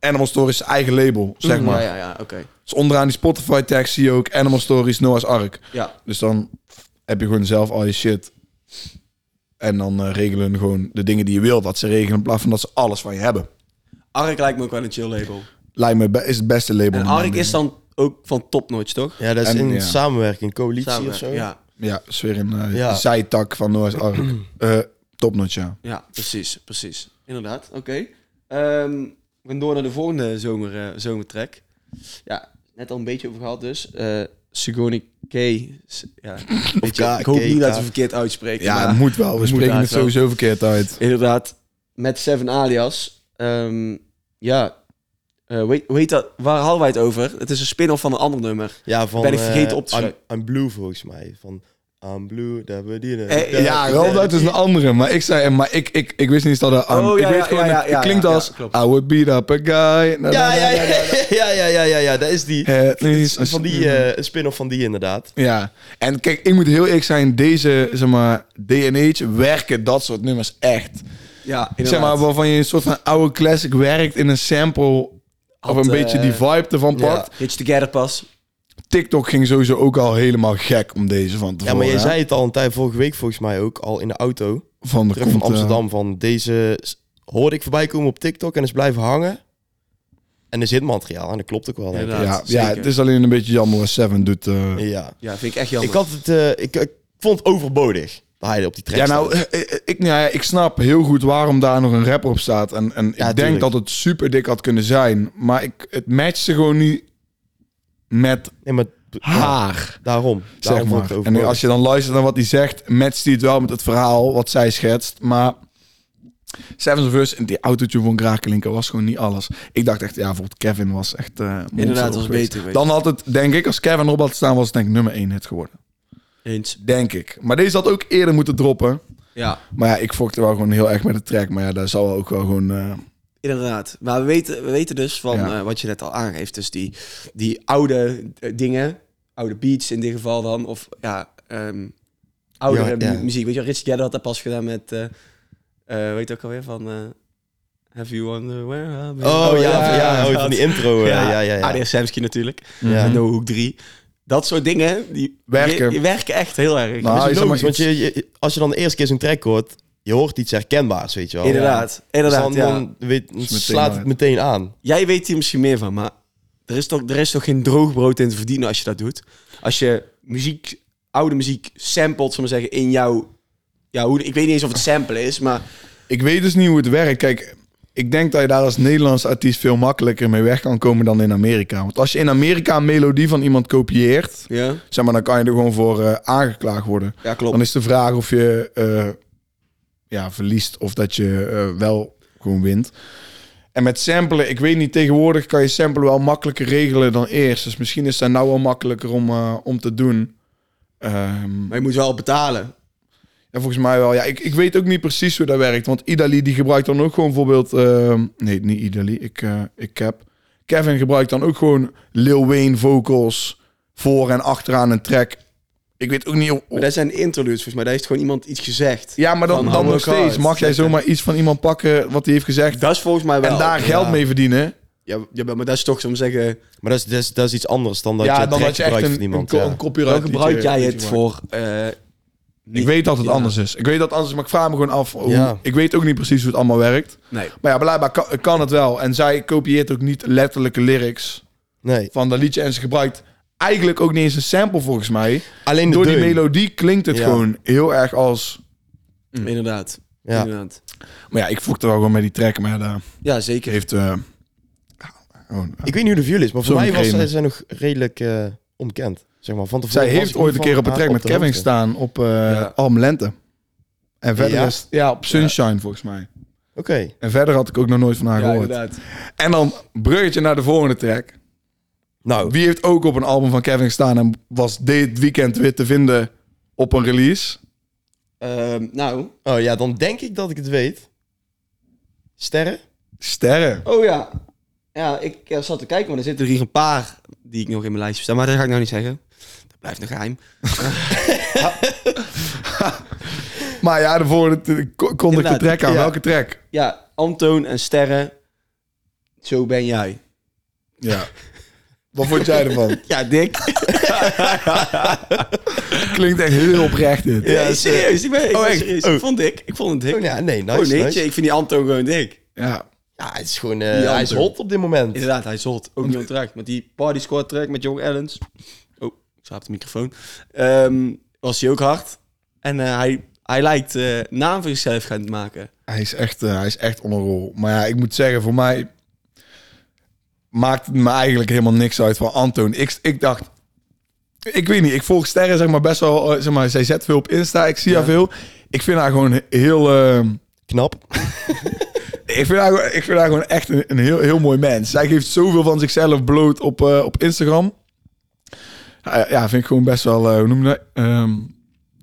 A: Animal Stories zijn eigen label, zeg maar.
B: Ja, ja, ja. Oké.
A: Dus onderaan die Spotify tag zie je ook Animal Stories, Noah's Ark.
B: Ja.
A: Dus dan heb je gewoon zelf al je shit. En dan eh, regelen hun gewoon de dingen die je wilt. Dat ze regelen in plaats van dat ze alles van je hebben.
B: ARK lijkt me ook wel een chill label.
A: Lijkt me be- is het beste label.
B: En
A: in mijn
B: ARK is
A: mening.
B: dan ook van topnotch, toch?
C: Ja, dat is
A: En-
C: in
A: ja.
C: samenwerking, coalitie
B: Samen.
C: of zo.
B: Ja,
A: Ja, is weer een eh,
C: Ja.
A: zijtak van Noah's Ark. Eh Topnotch, ja.
B: ja, precies, precies. Inderdaad, oké. Ehm, we gaan door naar de volgende zomer, eh, zomertrack. Ja, net al een beetje over gehad dus. Eh Sugoni K. S- Ja, weet je,
C: K,
B: ik hoop
C: K,
B: niet
C: K.
B: dat we verkeerd uitspreken.
A: Ja,
B: maar-
A: het moet wel. We
B: moet
A: spreken het
B: eigenlijk wel.
A: sowieso verkeerd uit.
B: Inderdaad, met Seven Alias. Ehm, ja, Eh, weet, weet dat, waar hadden wij het over? Het is een spin-off van een ander nummer.
C: Ja, van...
B: Ben ik vergeten
C: eh,
B: op te schrijven.
C: I'm, I'm Blue volgens mij. Van I'm Blue, daar we die...
B: Eh,
C: daar-
A: Ja,
C: daar-
A: Rob Duit is een andere. Maar ik zei, maar ik, ik, ik wist niet dat er...
B: Oh,
A: ik
B: ja,
A: weet
B: ja,
A: gewoon,
B: ja,
A: het,
B: ja,
A: het klinkt
B: ja,
A: als...
B: ja, klopt.
A: I would beat up a guy. Na,
C: Ja,
A: na, na,
C: ja, ja,
A: na.
C: ja, ja, ja, ja, ja, dat is die.
A: Het is mm-hmm. een-
C: Van die, eh, een spin-off van die inderdaad.
A: Ja. En kijk, ik moet heel eerlijk zijn. Deze, zeg maar, DNH werken dat soort nummers echt.
B: Ja,
A: Zeg maar, waarvan je een soort van oude classic werkt in een sample... Of
B: Had,
A: een beetje die
B: eh,
A: vibe ervan
C: ja.
A: pakt.
B: Hits Together pas.
A: TikTok ging sowieso ook al helemaal gek om deze van te
C: Ja, maar jij zei het al een tijd vorige week volgens mij ook, al in de auto.
A: Van de
C: Terug van
A: komt, eh,
C: Amsterdam, van deze s- hoorde ik voorbij komen op TikTok en is blijven hangen. En is hitmateriaal, en dat klopt ook wel. denk ik.
B: Inderdaad.
A: Ja, ja,
B: Zeker.
A: het is alleen een beetje jammer wat Seven doet. eh,
C: Ja.
B: Ja, vind ik echt jammer.
C: Ik had het, eh, ik, ik vond het overbodig dat hij op die track
A: Ja, nou,
C: stond.
A: eh, eh, ik, nou ja, ik snap heel goed waarom daar nog een rapper op staat. En, en ik
C: Ja,
A: denk
C: tuurlijk.
A: dat het super dik had kunnen zijn. Maar ik, het matchte gewoon niet met
C: Nee, maar ja,
A: haar,
C: daarom.
A: zeg
C: daarom vond ik
A: maar.
C: het
A: En als
C: overbodig.
A: je dan luistert naar wat hij zegt, matcht hij het wel met het verhaal wat zij schetst. Maar Seven's Verse en die autotune van Grakelinker was gewoon niet alles. Ik dacht echt, ja, bijvoorbeeld Kevin was echt... eh, monster
B: Inderdaad, het was
A: geweest.
B: beter. weet je.
A: Dan had het, denk ik, als Kevin erop had staan, was het denk ik nummer 1 hit geworden.
B: Eens.
A: Denk ik. Maar deze had ook eerder moeten droppen.
B: Ja,
A: Maar ja, ik fokte wel gewoon heel erg met de track. Maar ja, daar zal ook wel gewoon... eh,
B: inderdaad. Maar we weten, we weten dus van
A: Ja.
B: eh, wat je net al aangeeft. Dus die, die oude eh, dingen, oude beats in dit geval dan. Of ja, ehm, oudere
C: Ja, ja.
B: mu- muziek. Weet je, Rich Gedder had dat pas gedaan met, eh eh, weet je ook alweer, van... eh, Have you wondered where I've been?
C: Oh, ja, ja, oh,
B: dat.
C: van die intro. eh, ja, ja, ja.
A: Ah,
B: ADS Samsky natuurlijk.
C: Ja.
B: En No Hook 3. Dat soort dingen, die
A: Werken.
B: die- die werken echt heel erg.
A: Nou,
C: Maar
A: je
C: is
A: zal maar
C: logisch, want
A: iets-
C: je, je- als je dan de eerste keer zo'n track hoort, je hoort iets herkenbaars, weet je wel.
B: inderdaad,
C: Dus
B: inderdaad,
C: dan,
B: ja.
C: dan weet- dan
A: meteen
C: slaat
A: uit.
C: het meteen aan.
B: Jij weet hier misschien meer van, maar er is, toch, er is toch geen droog brood in te verdienen als je dat doet? Als je muziek, oude muziek samplet, zullen we zeggen, in jouw... Ja, hoe, ik weet niet eens of het sample is, maar...
A: Ik weet dus niet hoe het werkt. Kijk, ik denk dat je daar als Nederlands artiest veel makkelijker mee weg kan komen dan in Amerika. Want als je in Amerika een melodie van iemand kopieert,
B: Ja,
A: zeg maar, dan kan je er gewoon voor eh, aangeklaagd worden.
B: ja klopt.
A: Dan is de vraag of je eh, ja, verliest of dat je eh, wel gewoon wint. En met samplen, ik weet niet, tegenwoordig kan je samplen wel makkelijker regelen dan eerst. Dus misschien is dat nou wel makkelijker om, eh, om te doen. Ehm,
B: Maar je moet wel betalen.
A: ja, volgens mij wel. Ja, ik, ik weet ook niet precies hoe dat werkt. Want Idali die gebruikt dan ook gewoon bijvoorbeeld... ehm, nee, niet Idali. Ik, eh, ik heb... Kevin gebruikt dan ook gewoon Lil Wayne vocals voor en achteraan een track. Ik weet ook niet... of-
B: Maar dat zijn interludes, volgens mij. Daar heeft gewoon iemand iets gezegd.
A: ja, maar dan,
B: Van
A: dan
B: Humble
A: nog steeds
B: Cards.
A: mag jij zomaar iets van iemand pakken wat hij heeft gezegd.
B: Dat is volgens mij wel...
A: en daar
B: ja.
A: geld mee verdienen.
B: Ja, ja, maar dat is toch, zullen we zeggen...
C: Maar dat is, dat is, dat is iets anders dan dat
A: ja,
C: je
A: dan
C: track
A: had je echt
C: gebruikt
A: een,
C: van iemand.
A: een,
C: ja.
A: een copyright.
B: Dan gebruik
A: liedje-
B: jij
A: liedje
B: het
A: maakt.
B: voor... eh,
A: Ik weet dat het
B: Ja.
A: anders is. Ik weet dat het anders is, maar ik vraag me gewoon af. hoe-
C: Ja.
A: Ik weet ook niet precies hoe het allemaal werkt.
B: Nee.
A: Maar ja, blijkbaar kan, kan het wel. En zij kopieert ook niet letterlijke lyrics
C: Nee,
A: van dat liedje. En ze gebruikt eigenlijk ook niet eens een sample volgens mij.
C: alleen de
A: Door die
C: deun.
A: melodie klinkt het
C: Ja.
A: gewoon heel erg als...
B: Inderdaad. Mm. Ja.
C: Ja.
B: Inderdaad.
A: Maar ja, ik voekte wel gewoon met die track. Maar daar
B: ja, zeker.
A: heeft... eh, gewoon,
C: Ik weet niet hoe de view is, maar voor
A: Zo'n
C: mij was,
A: creme.
C: zij zijn nog redelijk eh, onbekend. Zeg maar. Van tevoren
A: Zij
C: was
A: heeft
C: ik
A: ooit een
C: van
A: keer op een
C: haar
A: track met
C: de
A: Kevin
C: hoogte.
A: gestaan op eh
B: Ja.
A: Alm Lente. En verder
C: Ja?
A: is... Ja, op Sunshine volgens mij.
C: Oké.
A: En verder had ik ook nog nooit van haar
B: Ja,
A: gehoord.
B: inderdaad.
A: En dan bruggetje naar de volgende track.
C: Nou,
A: Wie heeft ook op een album van Kevin gestaan en was dit weekend weer te vinden op een release?
B: Ehm, nou...
C: oh ja, dan denk ik dat ik het weet. Sterren?
A: Sterren.
B: Oh ja. Ja, ik eh, zat te kijken, maar er zitten er hier een paar die ik nog in mijn lijstje heb staan. Maar dat ga ik nou niet zeggen. Dat blijft een geheim.
A: Maar ja, de volgende t- ko- kon ik de
B: Inderdaad,
A: track aan.
B: ja.
A: Welke track?
B: Ja, Antoon en Sterren. Zo ben jij.
A: Ja. Wat vond jij ervan?
B: Ja, dik.
A: Klinkt echt heel oprecht dit.
B: Ja, serieus. Ik ben, ik
C: Oh,
B: ben
C: echt?
B: serieus.
C: Oh.
B: Ik vond dik. Ik vond het dik.
C: Oh ja, nee, nice,
B: oh nee,
C: nice.
B: ik vind die Antoon gewoon dik.
A: Ja.
C: Ja, het is gewoon... eh,
B: Die
C: hij is
B: andere.
C: hot op dit moment.
B: Inderdaad, hij is hot. Ook niet ontraakt. Met die Party Squad track met Jong Ellens. Oh, ik slaap de microfoon. Ehm, was hij ook hard. En eh, hij, hij lijkt eh naam voor zichzelf gaan maken.
A: Hij is echt, eh, hij is echt on a roll. Maar ja, ik moet zeggen, voor mij maakt het me eigenlijk helemaal niks uit van Antoon. Ik, ik dacht, ik weet niet, ik volg Sterren zeg maar best wel, eh, zeg maar, zij zet veel op Insta, ik zie haar veel. Ik vind haar gewoon heel, eh,
C: Knap.
A: ik, vind haar, gewoon- ik vind haar gewoon echt een, een heel, heel mooi mens. Zij geeft zoveel van zichzelf bloot op, eh, op Instagram. Ja, ja, vind ik gewoon best wel, eh, hoe noem je dat? Ehm,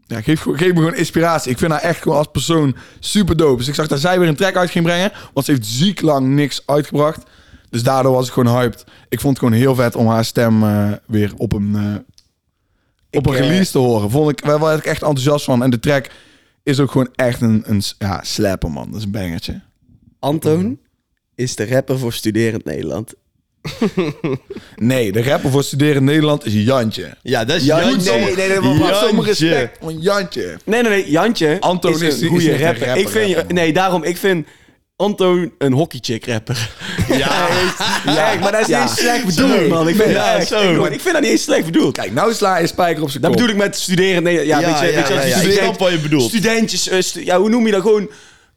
A: ja, geef, gewoon- geef me gewoon inspiratie. Ik vind haar echt gewoon als persoon super dope. Dus ik zag dat zij weer een track uit ging brengen. Want ze heeft ziek lang niks uitgebracht. Dus daardoor was ik gewoon hyped. Ik vond het gewoon heel vet om haar stem eh, weer op een, eh, op een
B: eh,
A: release te horen. Vond ik, daar was ik echt enthousiast van. En de track is ook gewoon echt een, een s- ja, slapper, man. Dat is een bangertje.
B: Antoon is de rapper voor studerend Nederland.
A: Nee, de rapper voor studeren in Nederland is Jantje.
C: Ja, dat is...
B: Ja,
C: Jantje.
B: nee, nee, nee, maar
A: Met
C: Jantje.
A: Zoveel respect van Jantje.
B: Nee, nee, nee. Jantje
A: Antoon
B: is,
A: is- is
B: een goede
A: niet een
B: rapper.
A: rapper,
B: Ik vind,
A: rapper, man.
B: nee, daarom. Ik vind Antoon een hockeychick rapper. Ja, ja. maar dat is
A: Ja.
B: niet eens slecht bedoeld, man. Ik vind,
A: Ja,
B: dat echt-
A: zo.
B: ik, maar ik vind dat niet eens slecht bedoeld.
A: Kijk, nou sla je spijker op zijn
B: dat
A: kop.
B: bedoel ik met studeren. Nee, ja,
C: Ja,
B: weet je,
C: ja,
B: weet je,
C: ja,
B: als je
C: ja, ik
B: student-
C: snap wat je bedoelt.
B: Studentjes, eh, stu- ja, hoe noem je dat gewoon?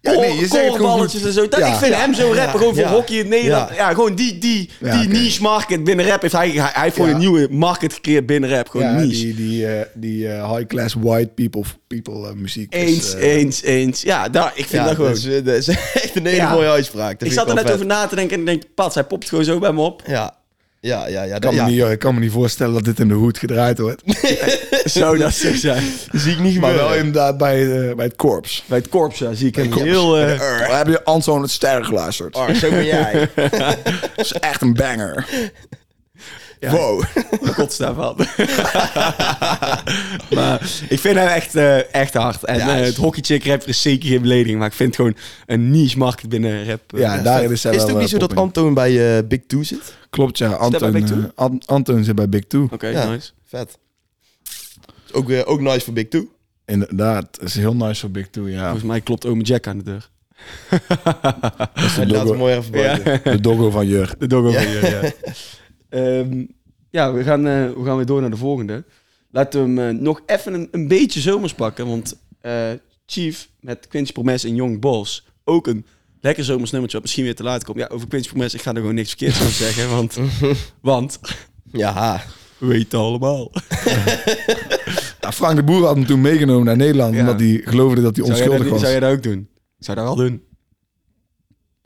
A: Ja, nee, je
B: Koor-
A: zegt het gewoon
B: koorballetjes
A: goed.
B: en zo. Dat,
A: Ja.
B: Ik vind hem zo rapper, gewoon voor
C: ja.
B: hockey in Nederland. Ja,
C: Ja.
B: gewoon die, die,
A: Ja,
B: die
A: oké.
B: niche market binnen rap. Heeft hij, hij hij heeft gewoon
A: Ja.
B: een nieuwe market gecreëerd binnen rap. Gewoon
A: Ja,
B: niche.
A: die, die, eh, die eh, high-class white people, people eh, muziek. is,
B: Eens,
A: eh,
B: eens, eens. Ja, daar, ik vind
C: Ja,
B: dat gewoon.
C: dat is, eh, dat is echt een hele
B: Ja.
C: mooie uitspraak. Dat
B: ik
C: vind
B: zat er
C: wel
B: net
C: vet.
B: over na te denken en ik denk, pat, hij popt gewoon zo bij me op.
C: Ja, ja, ja. ja,
A: kan
C: dat,
A: me
C: ja.
A: niet, eh, ik kan me niet voorstellen dat dit in de hoed gedraaid wordt.
B: zo, dat zou zijn.
C: zie ik niet
A: maar wel
C: gebeuren.
A: inderdaad bij, eh, bij het korps.
B: Bij het korps ja, zie ik hem
A: korps.
B: heel... eh,
A: Daar heb je Anton het Sterren geluisterd.
C: Ah, zo ben jij.
A: Dat is echt een banger.
B: Ja.
C: Wow.
B: Kotst daarvan. maar ik vind hem echt, eh, echt hard. En
C: Ja,
B: eh,
C: is-
B: het hockeychick rapper is zeker geen belediging. Maar ik vind het gewoon een niche markt binnen rap. eh,
A: Ja, daarin is
C: Is
A: hij
C: het
A: wel,
C: ook niet
A: eh,
C: zo dat
A: popping.
C: Antoon bij eh, Big Two zit?
A: Klopt, ja.
B: bij
A: Anton,
B: Big Two?
A: eh, An- Anton zit bij Big Two.
B: Oké,
C: Ja.
B: nice.
C: Vet. Is Ook, weer ook nice voor Big Two.
A: Inderdaad, is heel nice voor Big Two, ja.
B: Volgens mij klopt Ome Jack aan de deur.
C: Maar laten we
A: doggo.
C: mooi even buiten.
A: De doggo van Jur.
B: De doggo
C: Ja.
B: van je, ja. Ehm, ja, we gaan, eh, we gaan weer door naar de volgende. Laten we hem eh, nog even een, een beetje zomers pakken. Want eh, Chief met Quincy Promes en Young Boss. Ook een lekker zomers nummertje wat misschien weer te laat komt. Ja, over Quincy Promes, ik ga er gewoon niks verkeerds van zeggen. Want, want
C: Ja.
B: we weten allemaal.
A: Ja, Frank de Boer had hem toen meegenomen naar Nederland,
B: Ja.
A: omdat hij geloofde dat hij
B: Zou jij, dat,
A: onschuldig
B: niet-
A: was.
B: zou jij dat ook doen? Ik zou dat wel doen.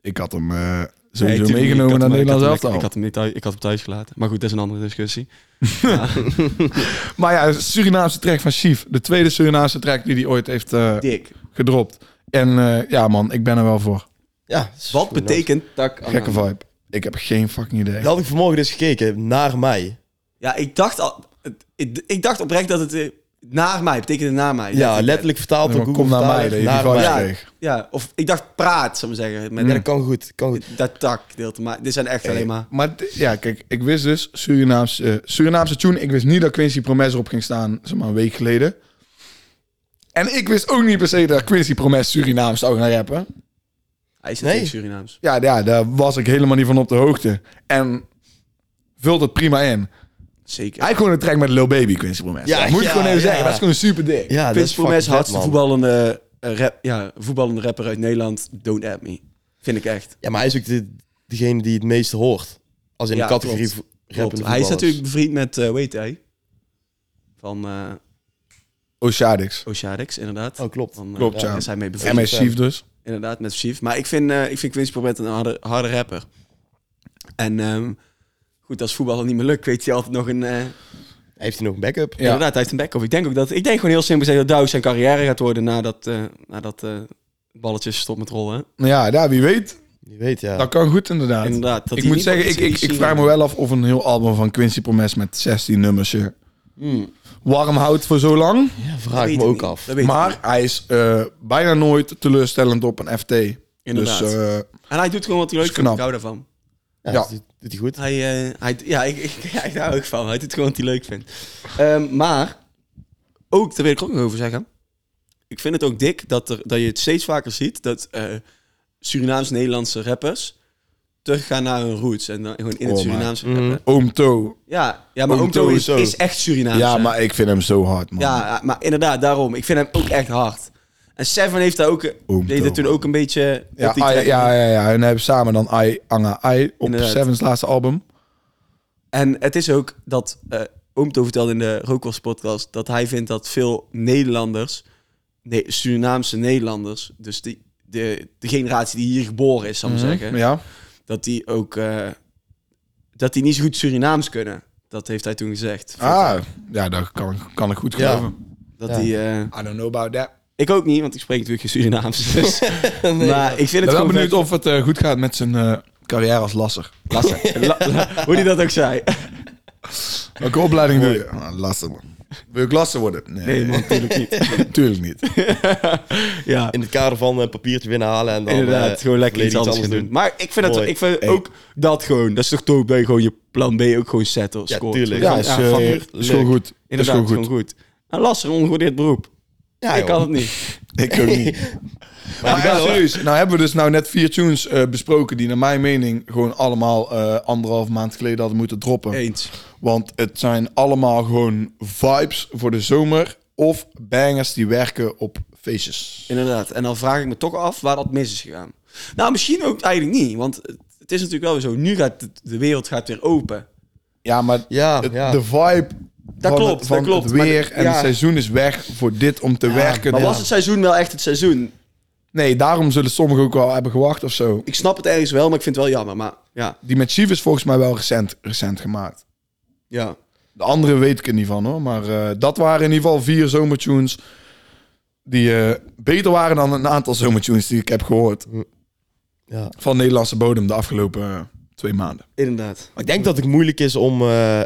A: Ik had hem eh,
B: Nee,
A: sowieso
B: tuurlijk niet. Ik
A: meegenomen
B: had
A: naar
B: hem- ik
A: Nederland
B: had hem-
A: zelf
B: Ik had hem niet thuis, ik had hem thuis gelaten. Maar goed, dat is een andere discussie.
A: Maar ja, Surinaamse track van Chief. De tweede Surinaamse track die hij ooit heeft eh,
B: Dik.
A: gedropt. En eh, ja man, ik ben er wel voor.
C: ja dat is
B: Wat
C: goed,
B: betekent dat?
A: Gekke vibe. Ik heb geen fucking idee.
C: Dat had ik vanmorgen dus gekeken, naar mij.
B: Ja, ik dacht, al, het- ik, ik dacht oprecht dat het eh, naar mij betekende naar mij.
C: Ja,
B: Dat-
C: letterlijk vertaald
A: Ja,
C: door
A: maar
C: Google
A: kom naar mij, dat je
C: vertaler,
A: die
C: naar
A: vibe
B: Ja,
C: mij. Ja,
A: kreeg.
B: ja, of ik dacht praat, zou ik maar zeggen. Met
C: dat kan goed, kan goed.
B: dat tak deelt. Maar dit zijn echt alleen maar.
A: Maar d- ja, kijk, ik wist dus Surinaamse, eh, Surinaamse tune. Ik wist niet dat Quincy Promes erop ging staan, zeg maar een week geleden. En ik wist ook niet per se dat Quincy Promes Surinaams zou gaan rappen.
B: Hij is
C: Nee.
B: nee. Surinaams.
A: Ja, ja, daar was ik helemaal niet van op de hoogte. En vult het prima in.
B: Zeker.
C: Ah,
A: Hij heeft gewoon een track met Lil Baby, Quincy Promes.
C: Ja,
A: dat moet
C: ja,
A: ik gewoon even
C: ja.
A: zeggen. Dat is gewoon super dik.
C: Ja, dat
B: Vince Promes,
C: is fucking vet,
B: hardste
C: man.
B: voetballende, eh, rap, ja, voetballende rapper uit Nederland. Don't at me. Vind ik echt.
C: Ja, maar hij is ook de, degene die het meeste hoort. Als in
B: Ja,
C: de categorie
B: klopt.
C: vo-
B: Klopt.
C: rappende
B: Hij is
C: voetballers.
B: natuurlijk bevriend met, eh weet hij? Van eh
A: Oh, Oshadix.
B: Oceanix, inderdaad.
C: Oh, klopt.
B: Van, eh,
A: Klopt,
B: daar
A: ja.
B: is hij mee bevriend.
A: En met Chief dus.
B: Inderdaad, met Chief. Maar ik vind, eh ik vind Quincy Probet een harde, harde rapper. En ehm, goed, als voetballer niet meer lukt, weet hij altijd nog een... eh,
C: Heeft hij nog een backup?
A: Ja.
B: Inderdaad, hij heeft een backup. Ik denk ook dat... Ik denk gewoon heel simpel gezegd dat Douw zijn carrière gaat worden nadat, eh nadat eh balletjes stopt met rollen.
A: Nou ja, daar, wie weet.
C: Je weet, ja.
A: Dat kan goed inderdaad.
B: Inderdaad. Dat
A: ik
B: hij
A: moet
B: niet
A: zeggen, ik,
B: wordt
A: ik, ik
B: gezien.
A: vraag me wel af of een heel album van Quincy Promes met 16 nummers je
B: Hmm,
A: warm houdt voor zo lang.
C: Ja,
B: dat
C: vraag
B: weet
C: ik
B: ik
C: me ook
B: niet.
C: af.
B: Dat weet ik
A: Maar
B: niet.
A: hij is eh, bijna nooit teleurstellend op een FT.
B: Inderdaad.
A: Dus eh,
B: En hij doet gewoon wat hij leuk
A: is
B: vindt. Ik
A: knap.
B: hou daarvan.
C: Ja,
A: Ja.
C: dat Doet, doet hij goed?
B: Hij, eh, hij, ja, ik, ik, ja, ik hou ook van. Hij doet gewoon wat hij leuk vindt. Ehm, maar, ook, daar wil ik ook nog over zeggen. Ik vind het ook dik dat, er, dat je het steeds vaker ziet dat eh, Surinaams-Nederlandse rappers teruggaan naar hun roots. En dan gewoon in het
A: Oh, maar-
B: Surinaams
C: Mhm.
B: rappen.
A: Oom To.
B: Ja, ja maar
C: Oom
B: Oom Toon is,
C: sowieso.
B: is echt Surinaams.
A: Ja,
B: hè?
A: maar ik vind hem zo hard, man.
B: dus, eh, ja, maar inderdaad, daarom. Ik vind hem ook echt hard. En Seven heeft daar ook,
A: Oom
B: deed
A: Toon.
B: dat toen ook een beetje... op
A: Ja,
B: die
A: Ai-
B: track.
A: ja, ja, ja. En dan hebben we samen dan I, Anga I op
B: Inderdaad.
A: Sevens laatste album.
B: En het is ook dat eh Oom Toon vertelde in de Rookwals podcast... dat hij vindt dat veel Nederlanders, nee, Surinaamse Nederlanders... dus die, de, de generatie die hier geboren is, zal ik maar zeggen...
A: Mhm. Ja.
B: dat die ook eh, dat die niet zo goed Surinaams kunnen. Dat heeft hij toen gezegd.
A: Ah, ja, dat kan, kan ik goed
C: Ja.
A: geloven.
B: Dat
C: Ja.
B: die, eh,
A: I don't know about that.
B: ik ook niet, want ik spreek natuurlijk geen Surinaams. Dus,
A: Ik
B: maar ik vind het
A: ben wel
B: gewoon
A: benieuwd
B: vet.
A: of het eh, goed gaat met zijn eh, carrière als lasser.
B: Lastig. La- la- hoe die dat ook zei.
A: Welke opleiding wil je? Ah, lasser, man. Wil ik lasser worden? Nee,
B: Nee, man, natuurlijk niet.
A: natuurlijk niet.
B: Ja,
C: In het kader van een papiertje binnenhalen en dan...
B: inderdaad.
C: eh,
B: Gewoon lekker iets
C: volledig
B: anders gaan doen. Maar ik vind, het,
C: Mooi.
B: ik vind
A: Hey.
B: ook dat gewoon. Dat is toch dope dat je gewoon je plan B ook gewoon zet of
C: Ja,
B: scoort.
C: tuurlijk.
A: Ja,
B: Gewoon,
A: is, eh,
B: fuck it.
A: is gewoon goed. is
B: Inderdaad,
A: gewoon goed.
B: gewoon goed. En lastig, ongewaardeerd beroep.
C: Ja,
B: ik
C: joh.
B: kan het niet.
A: Ik ook niet. maar
C: wel,
A: ja,
C: hoor.
A: serieus. Nou hebben we dus nou net vier tunes eh, besproken die naar mijn mening gewoon allemaal eh, anderhalf maand geleden hadden moeten droppen.
B: Eens.
A: Want het zijn allemaal gewoon vibes voor de zomer of bangers die werken op feestjes.
B: Inderdaad. En dan vraag ik me toch af waar dat mis is gegaan. Nou, misschien ook eigenlijk niet. Want het- het is natuurlijk wel weer zo. Nu gaat het- de wereld gaat weer open.
A: Ja, maar
C: Ja,
A: het-
C: ja.
A: de vibe
B: Dat
A: van,
B: klopt,
A: het, van
B: dat klopt.
A: het
B: Maar
A: weer
B: de-
A: en
B: ja.
A: het seizoen is weg voor dit om te werken.
B: Maar
A: Ja.
B: was het seizoen wel echt het seizoen?
A: Nee, daarom zullen sommigen ook wel hebben gewacht of zo.
B: Ik snap het ergens wel, maar ik vind het wel jammer. Maar ja,
A: Die met Chief is volgens mij wel recent, recent gemaakt.
B: ja.
A: De andere weet ik er niet van hoor. Maar eh, dat waren in ieder geval vier zomertunes. Die eh, beter waren dan een aantal zomertunes die ik heb gehoord.
C: Ja.
A: Van Nederlandse bodem de afgelopen eh, twee maanden.
B: Inderdaad.
C: Maar ik denk dat het moeilijk is om, eh,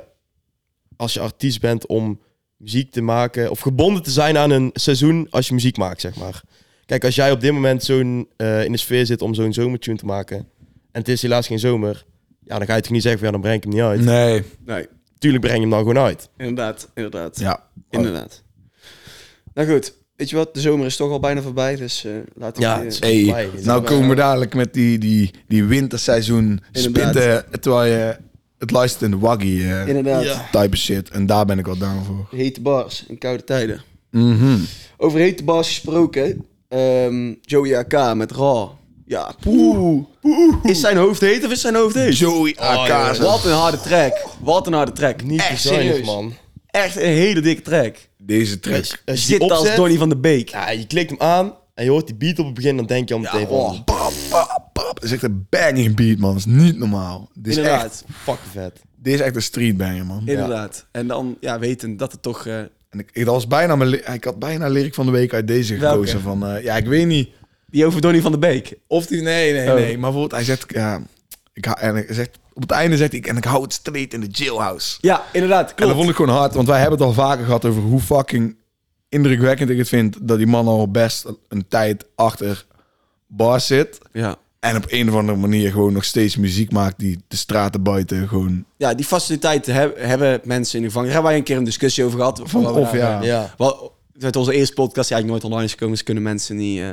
C: als je artiest bent, om muziek te maken. Of gebonden te zijn aan een seizoen als je muziek maakt, zeg maar. Kijk, als jij op dit moment zo'n, eh, in de sfeer zit om zo'n zomertune te maken. En het is helaas geen zomer. Ja, dan ga je toch niet zeggen van ja, dan breng ik hem niet uit.
A: Nee.
B: Nee,
C: Tuurlijk breng je hem dan gewoon uit.
B: inderdaad, inderdaad.
A: Ja.
B: Inderdaad. Nou goed, weet je wat? De zomer is toch al bijna voorbij, dus eh laten we...
C: Ja,
B: die,
C: het is-
B: eh,
A: Hey,
C: Voorbij, dit
A: nou
B: is
A: komen we
B: wel-
A: dadelijk met die, die, die winterseizoen
B: Inderdaad.
A: spitten terwijl je het luistert in de waggy eh,
B: inderdaad,
A: type shit. En daar ben ik wel down voor.
B: hete bars in koude tijden.
A: Mhm.
B: Over hete bars gesproken, ehm Joey AK met Raw. Ja, poeh. Is zijn hoofd heet of is zijn hoofd heet?
A: Joey AK.
C: jongens.
B: Wat een harde track. Wat een harde track.
C: Niet
B: Echt
C: te zuinig,
B: serieus.
C: man.
B: Echt een hele dikke track.
A: Deze track.
C: Als, als je
B: Zit
C: die
B: als
C: opzet,
B: Donny van de Beek.
C: ja, je klikt hem aan en je hoort die beat op het begin, dan denk je al meteen van,
B: oh,
A: Bam, bam, bam. Dat is echt een banging beat, man. Dat is niet normaal. Dit is, echt,
B: Inderdaad,
C: fucking vet.
A: dit is echt een street banger, man.
B: inderdaad. En dan ja, weten dat het toch... eh,
A: En ik, ik, dat was bijna mijn, li- ik had bijna lyric van de week uit deze
B: Welke?
A: gekozen. Van, eh, ja, ik weet niet
B: die over Donny van de Beek.
A: of die... Nee, nee,
B: Oh.
A: nee. Maar bijvoorbeeld, hij zegt... Ja, ik, hou- en hij zegt op het einde zegt hij... En ik hou het street in de jailhouse.
B: Ja, inderdaad.
A: En dat
B: Klopt.
A: vond ik gewoon hard. Want wij hebben het al vaker gehad over hoe fucking indrukwekkend ik het vind... dat die man al best een- een tijd achter bars zit.
B: Ja.
A: En op een of andere manier gewoon nog steeds muziek maakt... die de straten buiten gewoon...
B: ja, die faciliteiten heb- hebben mensen in de gevangenis. Daar hebben wij een keer een discussie over gehad.
A: Van,
B: waar we
A: of
B: daar-
A: ja.
C: Ja.
B: Wel, met onze eerste podcast, die eigenlijk nooit online is gekomen, dus kunnen mensen niet, eh,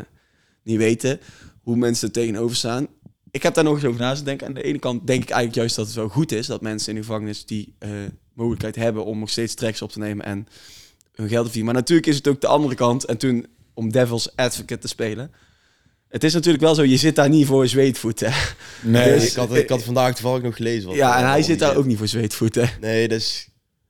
B: niet weten hoe mensen er tegenover staan. Ik heb daar nog eens over na te denken. Aan de ene kant denk ik eigenlijk juist dat het wel goed is dat mensen in de gevangenis die eh, mogelijkheid hebben om nog steeds tracks op te nemen en hun geld te verdienen. Maar natuurlijk is het ook de andere kant. En toen om devil's advocate te spelen. Het is natuurlijk wel zo, je zit daar niet voor zweetvoet. Hè?
A: Nee,
B: Dus-
C: ik, had, ik had vandaag toevallig nog gelezen. Wat
B: Ja, en hij
C: wat
B: zit daar
C: die-
B: ook niet voor zweetvoet. Hè?
C: Nee, dat is,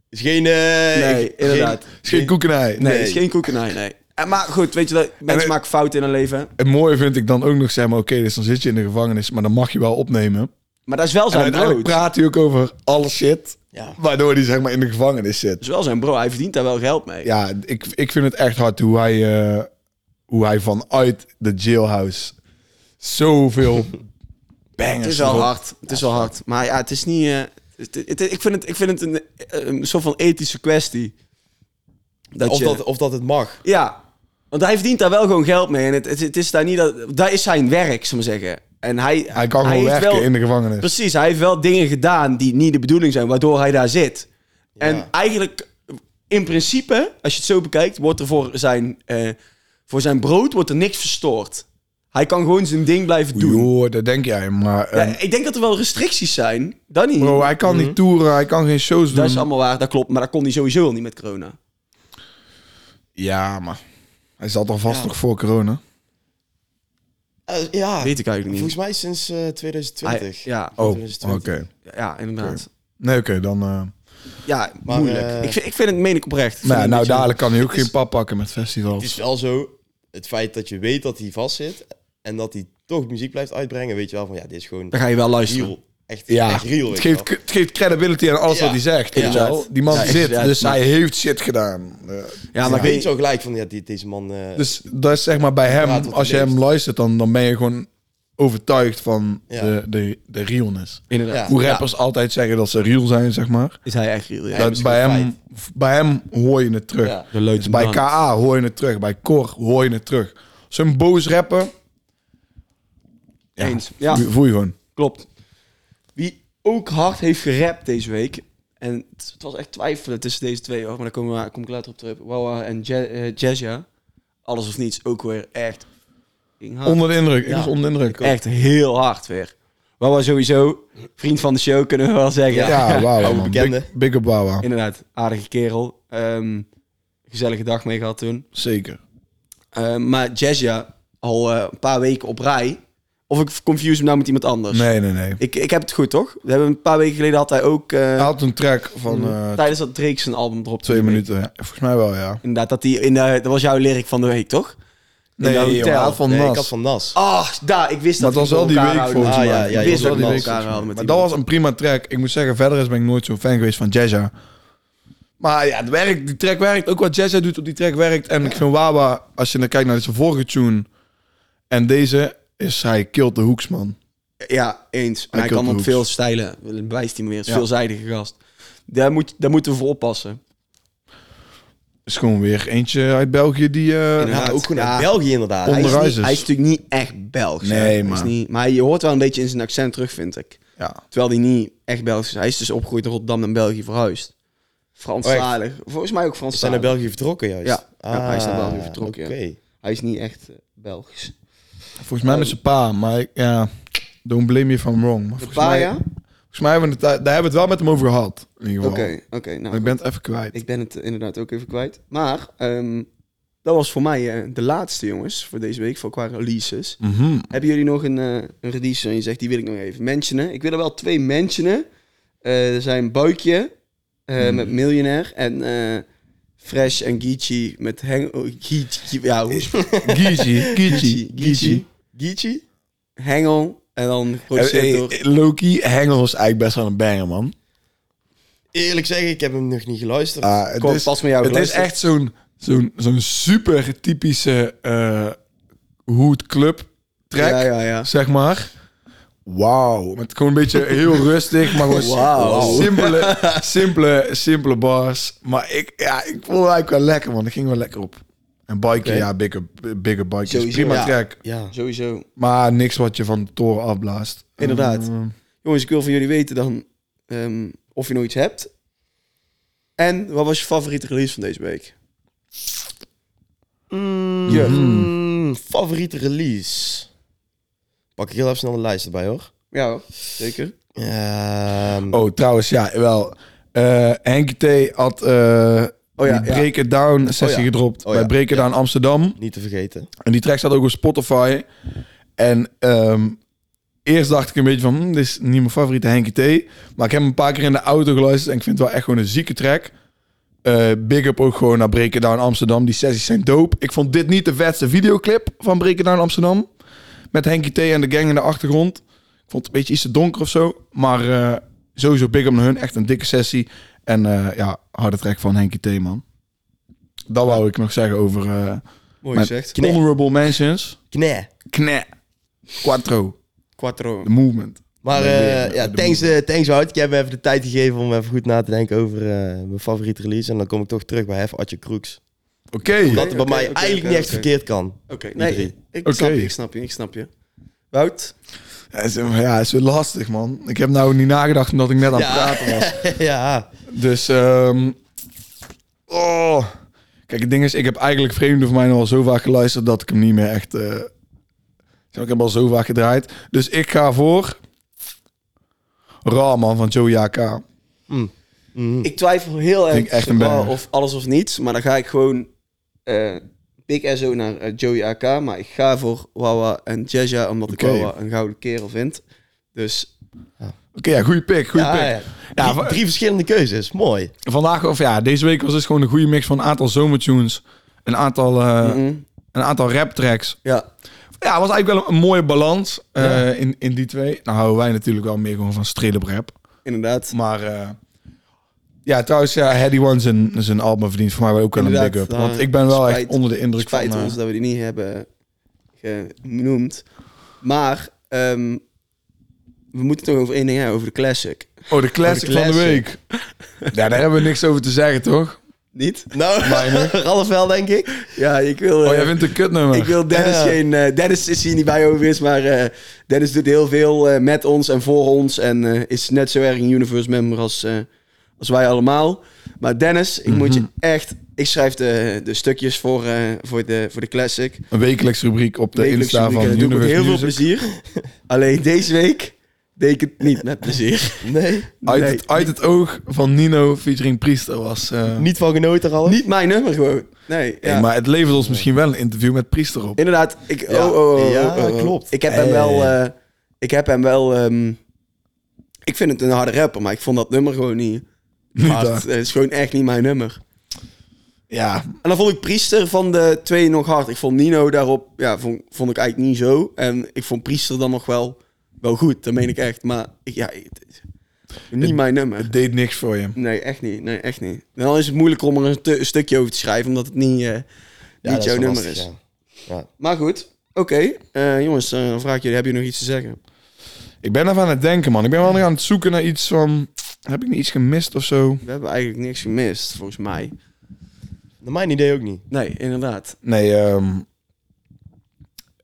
C: is geen... eh,
B: Nee,
C: geen-
B: inderdaad.
A: is geen koekenij.
B: Nee,
C: Nee.
B: is geen koekenij, nee. En, maar goed, weet je, dat, mensen
A: eh,
B: maken fouten in hun leven.
A: Het mooie vind ik dan ook nog, zeg maar, oké, dus dan zit je in de gevangenis, maar dan mag je wel opnemen.
B: Maar dat is wel
A: En
B: zijn
A: uiteindelijk
B: brood. Dat
A: praat hij ook over alle shit,
C: Ja.
A: waardoor hij zeg maar in de gevangenis zit.
B: is wel zijn bro. Hij verdient daar wel geld mee.
A: Ja, ik, ik vind het echt hard hoe hij, eh, hoe hij vanuit de jailhouse zoveel bangers...
B: het is wel
A: erop-
B: hard. Het is wel hard. Maar ja, het is niet... eh, het, het- ik vind het, ik vind het een, eh, een soort van ethische kwestie. Dat
C: Of
B: je,
C: dat, of dat het mag.
B: Ja, want hij verdient daar wel gewoon geld mee. En het, het, het is daar niet... Dat, dat is zijn werk, zullen we zeggen. En hij,
A: Hij kan gewoon
B: heeft
A: werken
B: wel- Dus
A: in de gevangenis.
B: Precies, hij heeft wel dingen gedaan die niet de bedoeling zijn, waardoor hij daar zit. En eigenlijk, in principe, als je het zo bekijkt, wordt er voor zijn, eh, voor zijn brood wordt er niks verstoord. Hij kan gewoon zijn ding blijven doen.
A: Joh, dat denk jij, maar...
B: Ja,
A: ehm,
B: ik denk dat er wel restricties zijn. Dan niet.
A: bro, hij kan niet toeren, hij kan geen shows doen.
B: dat is allemaal waar, dat klopt. Maar dat kon hij sowieso al niet met corona.
A: Ja, maar hij zat al vast nog voor corona.
C: Eh,
A: Ah,
C: ja.
B: Weet ik eigenlijk niet.
C: Volgens mij sinds eh, 2020.
B: Hij- ja,
A: Oh, oké.
C: 2020.
B: ja, inderdaad.
A: Nee, oké, dan... eh,
B: Ja,
C: Maar,
B: moeilijk.
C: eh,
B: ik, vind, ik vind het, meen ik oprecht. Ik vind
A: nou,
B: het
A: nou
B: een beetje-
A: dadelijk kan hij ook
C: het is-
A: geen pap pakken met
C: Het is
A: festivals.
C: wel zo, het feit dat je weet dat hij vastzit en dat hij toch muziek blijft uitbrengen, weet je wel van ja, dit is gewoon
B: Dan ga je wel luisteren.
C: real. Echt,
A: Ja,
C: echt real.
A: het,
C: weet
A: geeft,
C: je
A: het geeft credibility aan alles
C: Ja.
A: wat hij zegt. weet je
C: Ja.
A: wel. Die man
B: Ja,
A: zit,
B: inderdaad,
A: dus
B: maar-
A: hij heeft shit gedaan. Eh,
B: Ja, maar
C: wel.
B: ik
C: Ik
B: weet
C: weet zo gelijk van ja, die- deze man. eh,
A: Dus dat is zeg maar bij
C: praat
A: hem,
C: wat
A: als je
C: hij
A: hem
C: leeft.
A: luistert, dan, dan ben je gewoon overtuigd van
C: Ja.
A: de, de, de realness.
B: Inderdaad.
A: Hoe
B: Ja,
A: rappers altijd zeggen dat ze real zijn, zeg maar.
B: Is hij echt real, ja.
A: Dat
C: is
A: bij,
C: gewoon
A: hem, bij hem hoor je het terug.
C: Ja.
B: De leute
A: Dus bij
B: man.
A: KA hoor je het terug. Bij Cor hoor je het terug. Zo'n boos rapper,
B: Eens. Ja,
A: voel je gewoon.
B: klopt. Wie ook hard heeft gerapt deze week. En het het was echt twijfelen tussen deze twee hoor. Maar daar komen we- kom ik later op terug. Wawa en Je- eh, Jezja. Alles of niets. Ook weer echt. fucking hard.
A: Onder de indruk. Ik
B: Ja.
A: was onder de indruk.
B: Echt heel hard weer. Wawa sowieso. Vriend van de show kunnen we wel zeggen.
A: Ja, wauw. man.
C: bekende.
A: Big, big up Wawa.
B: Inderdaad. Aardige kerel. Ehm, gezellige dag mee gehad toen.
A: Zeker.
B: Ehm, maar Jezja al eh, een paar weken op rij. Of ik confuse hem nou met iemand anders.
A: Nee, nee, nee.
B: Ik, ik heb het goed, toch? We hebben een paar weken geleden had hij ook... eh,
A: Hij had een track van eh,
B: Mm. tijdens dat Drake zijn album erop
A: twee minuten. Ja, Volgens mij wel, ja.
B: Inderdaad, dat, die in de, dat was jouw lyric van de week, toch?
A: Nee,
B: dat hotel.
A: jongen, hij had van
C: nee, ik
A: Nas.
C: had van Nas.
B: Ah, daar, ik wist
A: Maar
B: dat
A: het was
B: we
A: wel die
B: elkaar
A: week
B: houden.
A: volgens
C: Ah,
A: mij.
C: ja, ja,
A: Het
B: ik wist
A: was wel
B: dat
A: die
B: we
A: week.
B: elkaar
A: volgens mij.
B: houden met
A: Maar
B: die
A: dat
B: man.
A: was een prima track. Ik moet zeggen, verder is ben ik nooit zo'n fan geweest van Jazza. Maar ja, het werkt, die track werkt. Ook wat Jazza doet op die track werkt. En ik vind Wawa, als je dan kijkt naar zijn vorige tune en deze, is hij killt de hoeks, man.
B: Ja, eens. En hij
A: Michael
B: kan op
A: Brooks.
B: veel stijlen. Bewijst hij meer. Is
A: Ja.
B: veelzijdige gast. Daar, moet, daar moeten we voor oppassen.
A: is gewoon weer eentje uit België die... eh,
B: Inderdaad.
C: Ja, ook gewoon
B: Ja.
C: uit België inderdaad.
A: Om-
B: Hij is,
A: Onderwijzers.
B: niet- hij is natuurlijk niet echt Belgisch. hè.
A: Nee,
B: Hij is
A: maar-
B: niet- maar je hoort wel een beetje in zijn accent terug, vind ik.
A: ja.
B: Terwijl hij niet echt Belgisch is. Hij is dus opgegroeid in Rotterdam en België verhuisd. Franstalig.
A: Oh,
B: Volgens mij ook
C: Ze
B: Franstalig.
C: zijn naar België vertrokken juist. Ah,
B: Ja. Ja, hij is naar België vertrokken, ja.
C: Oké.
B: Hij is niet echt eh, Belgisch.
A: Volgens mij met zijn pa, maar ik- ja... Don't blame me if I'm wrong. Maar volgens, mij,
B: Papaya? Oké,
A: volgens mij hebben we het, daar hebben we het wel met hem over gehad. In ieder geval.
B: oké. nou,
A: Maar ik ben het even kwijt.
B: ik ben het eh, inderdaad ook even kwijt. Maar ehm, dat was voor mij eh, de laatste, jongens, voor deze week, voor qua releases.
A: Mhm.
B: Hebben jullie nog een, eh een release en je zegt, die wil ik nog even mentionen? Ik wil er wel twee mentionen. Eh, er zijn Buikje eh,
A: Mhm.
B: met Millionaire en eh, Fresh en Geechee met Hang... oh, Geechee, ja, hoe is het?
A: Gigi, Gigi,
B: Geechee,
A: Gigi.
B: Geechee,
C: Geechee?
B: Hengel en dan
A: Eh,
B: geproduceerd door...
A: Loki Hengel is eigenlijk best wel een banger, man.
B: Oh,
C: Eerlijk zeggen, ik heb hem nog niet geluisterd.
A: Ah, het
B: Kom,
A: is,
B: pas met jou
A: het is
B: geluisterd.
A: echt zo'n zo'n zo'n super typische eh hoed club track,
B: Ja, ja, ja.
A: zeg maar. Wauw, met gewoon een beetje heel rustig, maar gewoon
B: Wauw.
A: simpele, simpele, simpele bars. Maar ik, ja, ik vond het eigenlijk wel lekker, man. Ik ging wel lekker op. En biken, ja, bigger, bigger biken. is
B: Sowieso,
A: Prima
B: ja.
A: track,
C: Ja.
B: Sowieso.
A: maar niks wat je van de toren afblaast.
B: Inderdaad.
A: Eh,
B: Jongens, ik wil van jullie weten dan ehm, of je nog iets hebt. En wat was je favoriete release van deze week? Mm.
C: Ja.
A: Mhm.
C: Mm, favoriete release? Pak ik heel even snel de lijst erbij hoor.
B: Ja, hoor. zeker.
C: Ehm,
A: Oh, trouwens, ja, wel. Eh Henkie T had eh
B: Oh ja,
A: die
B: ja.
A: Break It Down sessie
C: Oh ja.
A: gedropt
C: Oh
A: bij
C: ja,
A: Break It Down Amsterdam.
C: Niet te vergeten.
A: En die track staat ook op Spotify. En ehm, eerst dacht ik een beetje van, hm, dit is niet mijn favoriete Henkie T. Maar ik heb hem een paar keer in de auto geluisterd en ik vind het wel echt gewoon een zieke track. Eh, big up ook gewoon naar Break It Down Amsterdam. Die sessies zijn dope. Ik vond dit niet de vetste videoclip van Break It Down Amsterdam. Met Henkie T en de gang in de achtergrond. Ik vond het een beetje iets te donker of zo. Maar eh, sowieso big up naar hun. Echt een dikke sessie. En eh, ja, harde track van Henkie T, man. Dat wou ik nog zeggen over eh,
B: Mooi
A: Maar-
B: gezegd.
C: Knee.
A: honorable mentions.
C: Knee.
A: Knä. Quattro.
B: Quattro.
A: The Movement.
C: Maar
A: Nee,
C: eh,
A: weer,
C: ja,
A: de
C: thanks, eh thanks Wout. Ik heb me even de tijd gegeven om even goed na te denken over eh, mijn favoriete release. En dan kom ik toch terug bij Hef Atje Kroeks.
A: Oké.
C: Dat
B: Oké,
C: bij
B: oké,
C: mij
B: oké,
C: eigenlijk
B: oké,
C: niet echt
B: oké.
C: verkeerd kan.
B: Oké, nee,
C: drie.
B: ik,
A: Oké.
B: snap je, ik snap je, ik snap je. Wout?
A: Ja, is- Ja, is wel lastig, man. Ik heb nou niet nagedacht omdat ik net aan het
C: Ja.
A: praten was.
C: ja.
A: Dus, ehm oh. Kijk, het ding is, ik heb eigenlijk Vreemde van mij nog al zo vaak geluisterd dat ik hem niet meer echt... eh, zeg maar, ik heb hem al zo vaak gedraaid. Dus ik ga voor... Raw, man, van Joey AK.
C: Mhm.
B: Ik twijfel heel erg
A: Vind ik echt een
B: tussen
A: banger.
B: of alles of niets, maar dan ga ik gewoon eh Big SO naar eh, Joey AK, maar ik ga voor Wawa en Jaja, omdat
A: Oké.
B: ik Wawa een gouden kerel vind. Dus
A: Oké, ja, goede pick, goede
C: Ja,
A: pick.
C: ja.
A: Ja,
C: Drie-
A: wa-
C: drie verschillende keuzes. Mooi.
A: Vandaag, of ja, deze week was dus gewoon een goede mix van een aantal zomertunes. Een aantal, eh,
B: mhm.
A: een aantal rap tracks.
B: ja,
A: Ja, het was eigenlijk wel een, een mooie balans eh, in, in die twee. Nou houden wij natuurlijk wel meer gewoon van strille rap.
B: inderdaad.
A: Maar eh, ja, trouwens, ja, Heady One zijn, zijn album verdient voor mij wel ook wel een
B: Inderdaad,
A: big up.
B: daar-
A: Want ik ben wel
B: spijt-
A: echt onder de indruk van...
B: Spijt
A: eh,
B: ons dat we die niet hebben genoemd. Maar ehm, we moeten het toch over één ding hebben, over de classic.
A: oh, de classic,
B: Oh, de
A: van de
B: classic.
A: week. ja, daar hebben we niks over te zeggen, toch?
B: Niet?
C: Nou, Ralf wel, denk ik.
B: Ja, ik wil...
A: Oh,
B: eh,
A: jij vindt een kutnummer.
B: Ik wil Dennis
C: Ja.
B: geen... eh, Dennis is hier niet bij overigens, maar eh, Dennis doet heel veel eh, met ons en voor ons. En eh, is net zo erg een universe member als, eh, als wij allemaal. Maar Dennis, ik moet je echt... Ik schrijf de, de stukjes voor, eh, voor, de, voor de classic.
A: Een wekelijks rubriek op de
B: Wekelijks
A: Insta
B: rubriek,
A: van
B: en dat doe ik
A: Universe
B: met heel veel
A: Music.
B: plezier. Alleen deze week deed ik het niet met plezier.
C: Nee.
A: Uit,
B: Nee,
A: het, uit het oog van Nino featuring Priester was... eh,
C: Niet van genoten, Ralf.
B: Niet mijn nummer gewoon. Nee,
A: Hey,
B: ja.
A: maar het levert ons misschien wel een interview met Priester op.
B: Inderdaad, ik,
C: Ja.
B: oh, oh, oh,
C: Ja,
B: oh, oh, oh.
C: klopt.
B: Ik heb hem
C: Eh.
B: wel, eh, ik heb hem wel, ehm, ik vind het een harde rapper, maar ik vond dat nummer gewoon niet.
A: Niet
B: hard.
A: daar.
B: Het is gewoon echt niet mijn nummer.
A: Ja,
B: En dan vond ik Priester van de twee nog hard. Ik vond Nino daarop, ja, vond, vond ik eigenlijk niet zo. En ik vond Priester dan nog wel, wel goed. Dat meen ik echt. Maar ik, ja, het is niet mijn nummer.
A: het deed niks voor je.
B: Nee, echt niet. Nee, echt niet. En dan is het moeilijk om er een, te- een stukje over te schrijven, omdat het niet, eh,
C: Ja,
B: niet
C: dat
B: jouw
C: wel
B: nummer
C: lastig,
B: is.
C: ja. Ja.
B: Maar goed, oké. Eh, jongens, eh, dan vraag ik jullie, hebben jullie nog iets te zeggen?
A: Ik ben even aan het denken, man. Ik ben wel aan het zoeken naar iets van... Heb ik niet iets gemist of zo?
B: We hebben eigenlijk niks gemist, volgens mij.
C: Naar mijn idee ook niet.
B: Nee, inderdaad.
A: Nee, ehm,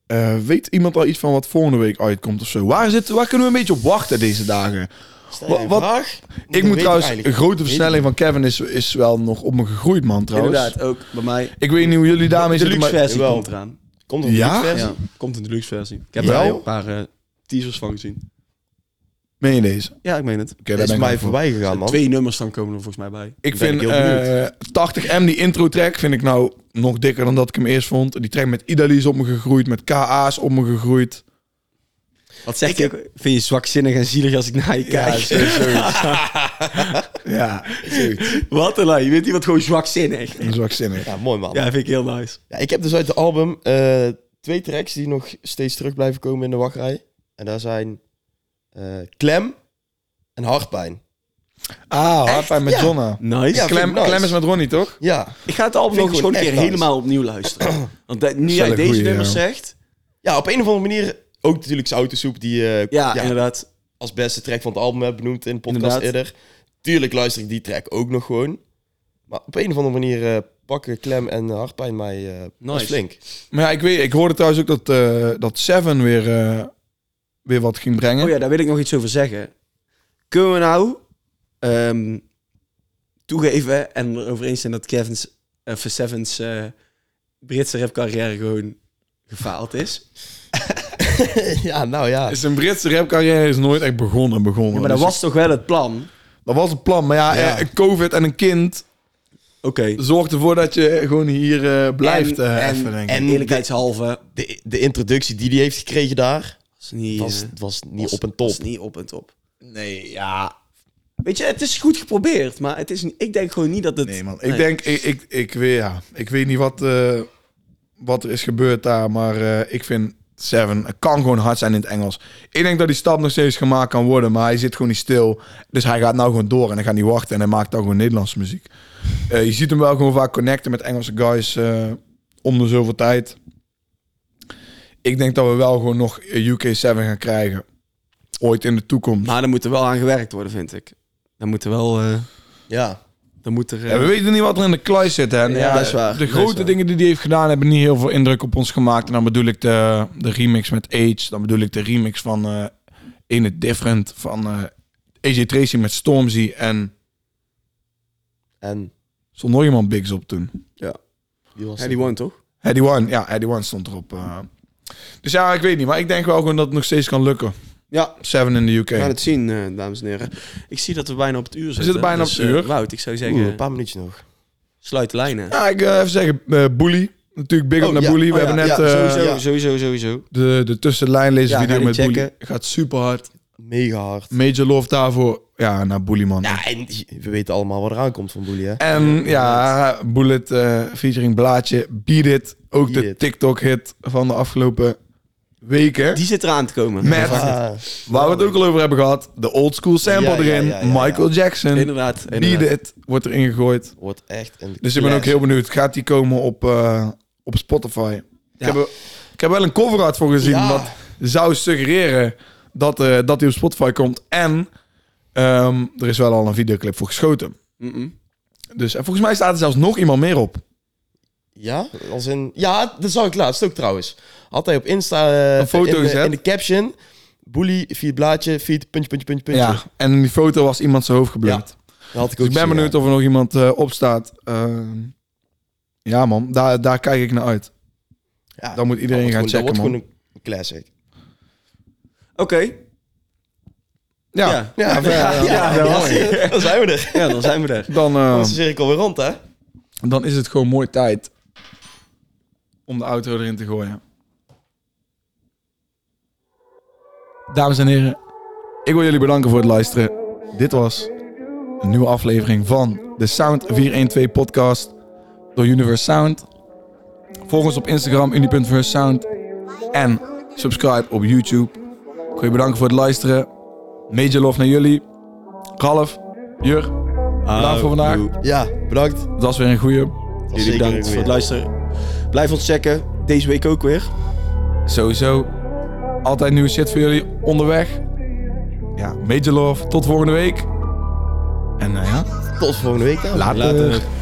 A: eh, weet iemand al iets van wat volgende week uitkomt of zo? Waar, zit, waar kunnen we een beetje op wachten deze dagen?
C: Stel
A: Wat-
C: jij een
A: wat-
C: vraag?
A: Ik moet trouwens... Een grote versnelling van Kevin is, is wel nog op me gegroeid, man, trouwens.
B: Inderdaad, ook bij mij.
A: Ik weet niet hoe jullie daarmee
B: de
A: zitten,
B: luxe
A: maar...
B: versie
C: Jawel.
B: komt eraan.
C: Komt er een
A: Ja?
C: versie?
B: Ja, komt een deluxe versie. Ik heb
A: Ja?
B: daar een paar eh, teasers van gezien.
A: Meen je deze? Oké,
B: Ja, ik meen het.
A: daar
C: Dat
A: ben
C: is
A: ik
C: mij
A: aan voor.
C: voorbij gegaan, man.
B: Twee nummers dan komen er volgens mij bij.
A: Ik
C: Ben
A: vind
C: ik heel
A: eh 80M, die intro track, vind ik nou nog dikker dan dat ik hem eerst vond. Die track met Idali is op me gegroeid, met KA's op me gegroeid.
B: Wat zeg je? Vind je zwakzinnig en zielig als ik naar je kijk?
A: Ja,
B: wat een lui. Je bent iemand gewoon zwakzinnig.
A: dat is zwakzinnig.
C: Ja, mooi man. Ja.
B: Ja, vind ik heel nice.
C: ik heb dus uit het album eh, twee tracks die nog steeds terug blijven komen in de wachtrij. En daar zijn eh, Klem en Hartpijn.
A: Ah, hardpijn met
C: Ja.
A: Jonna.
B: Nice.
C: Ja,
A: Klem,
C: vind ik nice.
A: Klem is met Ronnie, toch?
C: Ja.
B: Ik ga het album
C: Vind
B: nog
C: ik
B: eens gewoon een
C: gewoon
B: keer
C: echt
B: helemaal opnieuw luisteren. Want dat- nu
A: is wel
B: jij
A: een
B: deze
A: goeie,
B: nummers
A: ja.
B: zegt...
C: ja, op een of andere manier ook natuurlijk zijn autosoep die eh,
B: Ja,
C: ja,
B: inderdaad.
C: als beste track van het album heb benoemd in de podcast
B: Inderdaad.
C: eerder. Tuurlijk luister ik die track ook nog gewoon. Maar op een of andere manier eh, pakken Klem en Hartpijn mij eh, best
B: Nice.
C: flink.
A: Maar ja, ik, weet, ik hoorde trouwens ook dat, eh, dat Seven weer, eh, weer wat ging brengen.
B: Oh ja, daar wil ik nog iets over zeggen. Kunnen we nou ehm, toegeven en erover eens zijn dat Kevin's, eh, of Sevens eh, Britse rapcarrière gewoon gefaald is?
C: ja, nou ja.
A: Zijn Britse rapcarrière is nooit echt begonnen. begonnen.
B: Ja, maar dat
A: Dus
B: was toch wel het plan?
A: dat was het plan. Maar ja,
C: Ja.
A: eh, COVID en een kind
B: Oké.
A: zorgt ervoor dat je gewoon hier eh, blijft.
B: En-
A: eh,
B: en-
A: even, denk ik.
B: En eerlijkheidshalve...
C: De, de introductie die die heeft gekregen daar,
B: Was niet,
C: was,
B: eh,
C: was niet
B: was-
C: op een top.
B: was niet op en top. Nee, ja... Weet je, het is goed geprobeerd, maar het is, niet- ik denk gewoon niet dat het...
A: Nee, man. Ik denk, ik, ik, ik, weet, ja, ik weet niet wat, eh, wat er is gebeurd daar, maar eh, ik vind Seven het kan gewoon hard zijn in het Engels. Ik denk dat die stap nog steeds gemaakt kan worden, maar hij zit gewoon niet stil. Dus hij gaat nou gewoon door en hij gaat niet wachten en hij maakt dan gewoon Nederlandse muziek. Eh, je ziet hem wel gewoon vaak connecten met Engelse guys eh, om de zoveel tijd. Ik denk dat we wel gewoon nog eh, UK7 gaan krijgen. Ooit in de toekomst.
B: Maar er moet er wel aan gewerkt worden, vind ik. Er moet er wel... eh,
C: Ja.
B: Dan moet er... eh,
A: Ja, we weten niet wat er in de kluis zit. Hè? En
B: Ja,
A: ja,
B: dat is waar.
A: De
B: Dat
A: grote
B: is waar.
A: dingen die hij heeft gedaan hebben niet heel veel indruk op ons gemaakt. En dan bedoel ik de, de remix met Age. Dan bedoel ik de remix van eh In It Different van eh AJ Tracy met Stormzy. En
C: En
A: stond nog iemand Bigs op toen.
C: die was
B: Ja, die won toch?
A: Eddie One, ja, Eddie One stond erop. eh. Dus ja, ik weet niet. Maar ik denk wel gewoon dat het nog steeds kan lukken.
B: Ja,
A: Seven in de UK.
B: we gaan het zien, eh, dames en heren. Ik zie dat we bijna op het uur zitten.
A: zitten bijna
B: Dus,
A: op het
B: eh,
A: uur.
B: Wout, ik zou zeggen,
C: Oeh, een paar minuutjes nog.
B: sluit de lijnen.
A: Ja, ik eh, even zeggen, eh Bully. Natuurlijk big
C: Oh,
A: up naar
C: ja.
A: Bully. We
C: Oh, ja,
A: hebben net
C: ja,
A: eh,
C: sowieso.
B: sowieso, sowieso, sowieso.
A: de, de tussenlijnlezer video
B: Ja, ga
A: met
B: die
A: Bully.
B: checken.
A: Gaat super hard.
C: Mega hard.
A: Major love daarvoor. Ja, naar Bully man.
C: Ja, en we weten allemaal wat eraan komt van Boelie, hè?
A: En ja, Bullet eh, featuring Blaadje, Beat It. Ook
C: Beat
A: de
C: It.
A: TikTok-hit van de afgelopen weken.
B: Die zit eraan te komen.
A: Met,
C: Ah,
A: waar we het ook al over hebben gehad, de old school sample
C: Ja, ja,
A: erin.
C: ja, ja,
A: Michael Jackson,
B: Inderdaad.
A: Beat
B: inderdaad.
A: It wordt erin gegooid.
C: wordt echt een
A: Dus ik ben ook heel benieuwd, gaat die komen op, eh, op Spotify? Ik, heb, er- ik heb wel een cover art voor gezien,
C: Ja.
A: wat zou suggereren dat, eh, dat die op Spotify komt. En ehm, er is wel al een videoclip voor geschoten.
B: Mm-mm.
A: Dus, en volgens mij staat er zelfs nog iemand meer op.
C: Ja, als in... Ja, dat zag ik laatst ook trouwens. Had hij op Insta... eh,
A: Een foto
C: in, de-
A: gezet?
C: In de caption. Boelie, vier blaadje, vier puntje, puntje, puntje, puntje.
A: Ja, en in die foto was iemand zijn hoofd geblurred.
C: Dat had ik
A: Dus
C: ook
A: ik ben
C: gezien,
A: benieuwd
C: ja.
A: of er nog iemand eh, opstaat. Ehm, ja, man, daar, daar kijk ik naar uit.
C: Ja,
A: Dan moet iedereen
C: dat
A: gaan
C: wordt gewoon-
A: checken, man.
C: Dat wordt gewoon een classic.
B: Oké.
A: Ja,
B: Ja.
A: ja, ja, ja, ja, ja.
C: dan zijn we er.
B: Ja, dan zijn we er.
A: Dan, eh,
C: Dan is de cirkel weer rond, hè?
A: dan is het gewoon mooi tijd om de auto erin te gooien. Dames en heren, ik wil jullie bedanken voor het luisteren. Dit was een nieuwe aflevering van de Sound 412 podcast door Universe Sound. Volg ons op Instagram, uni.verse Sound. En subscribe op YouTube. Ik wil je bedanken voor het luisteren. Major love naar jullie. Ralf, Jur, bedankt voor vandaag.
C: Ja, bedankt. Dat
A: Dat was weer een goeie.
C: was
B: Jullie
C: zeker een
B: bedankt voor
C: goeie.
B: het luisteren. Blijf ons checken. Deze week ook weer.
A: Sowieso. Altijd nieuwe shit voor jullie onderweg.
C: ja, major love. Tot volgende week. En nou ja,
A: Tot volgende week dan.
C: later.
B: Later.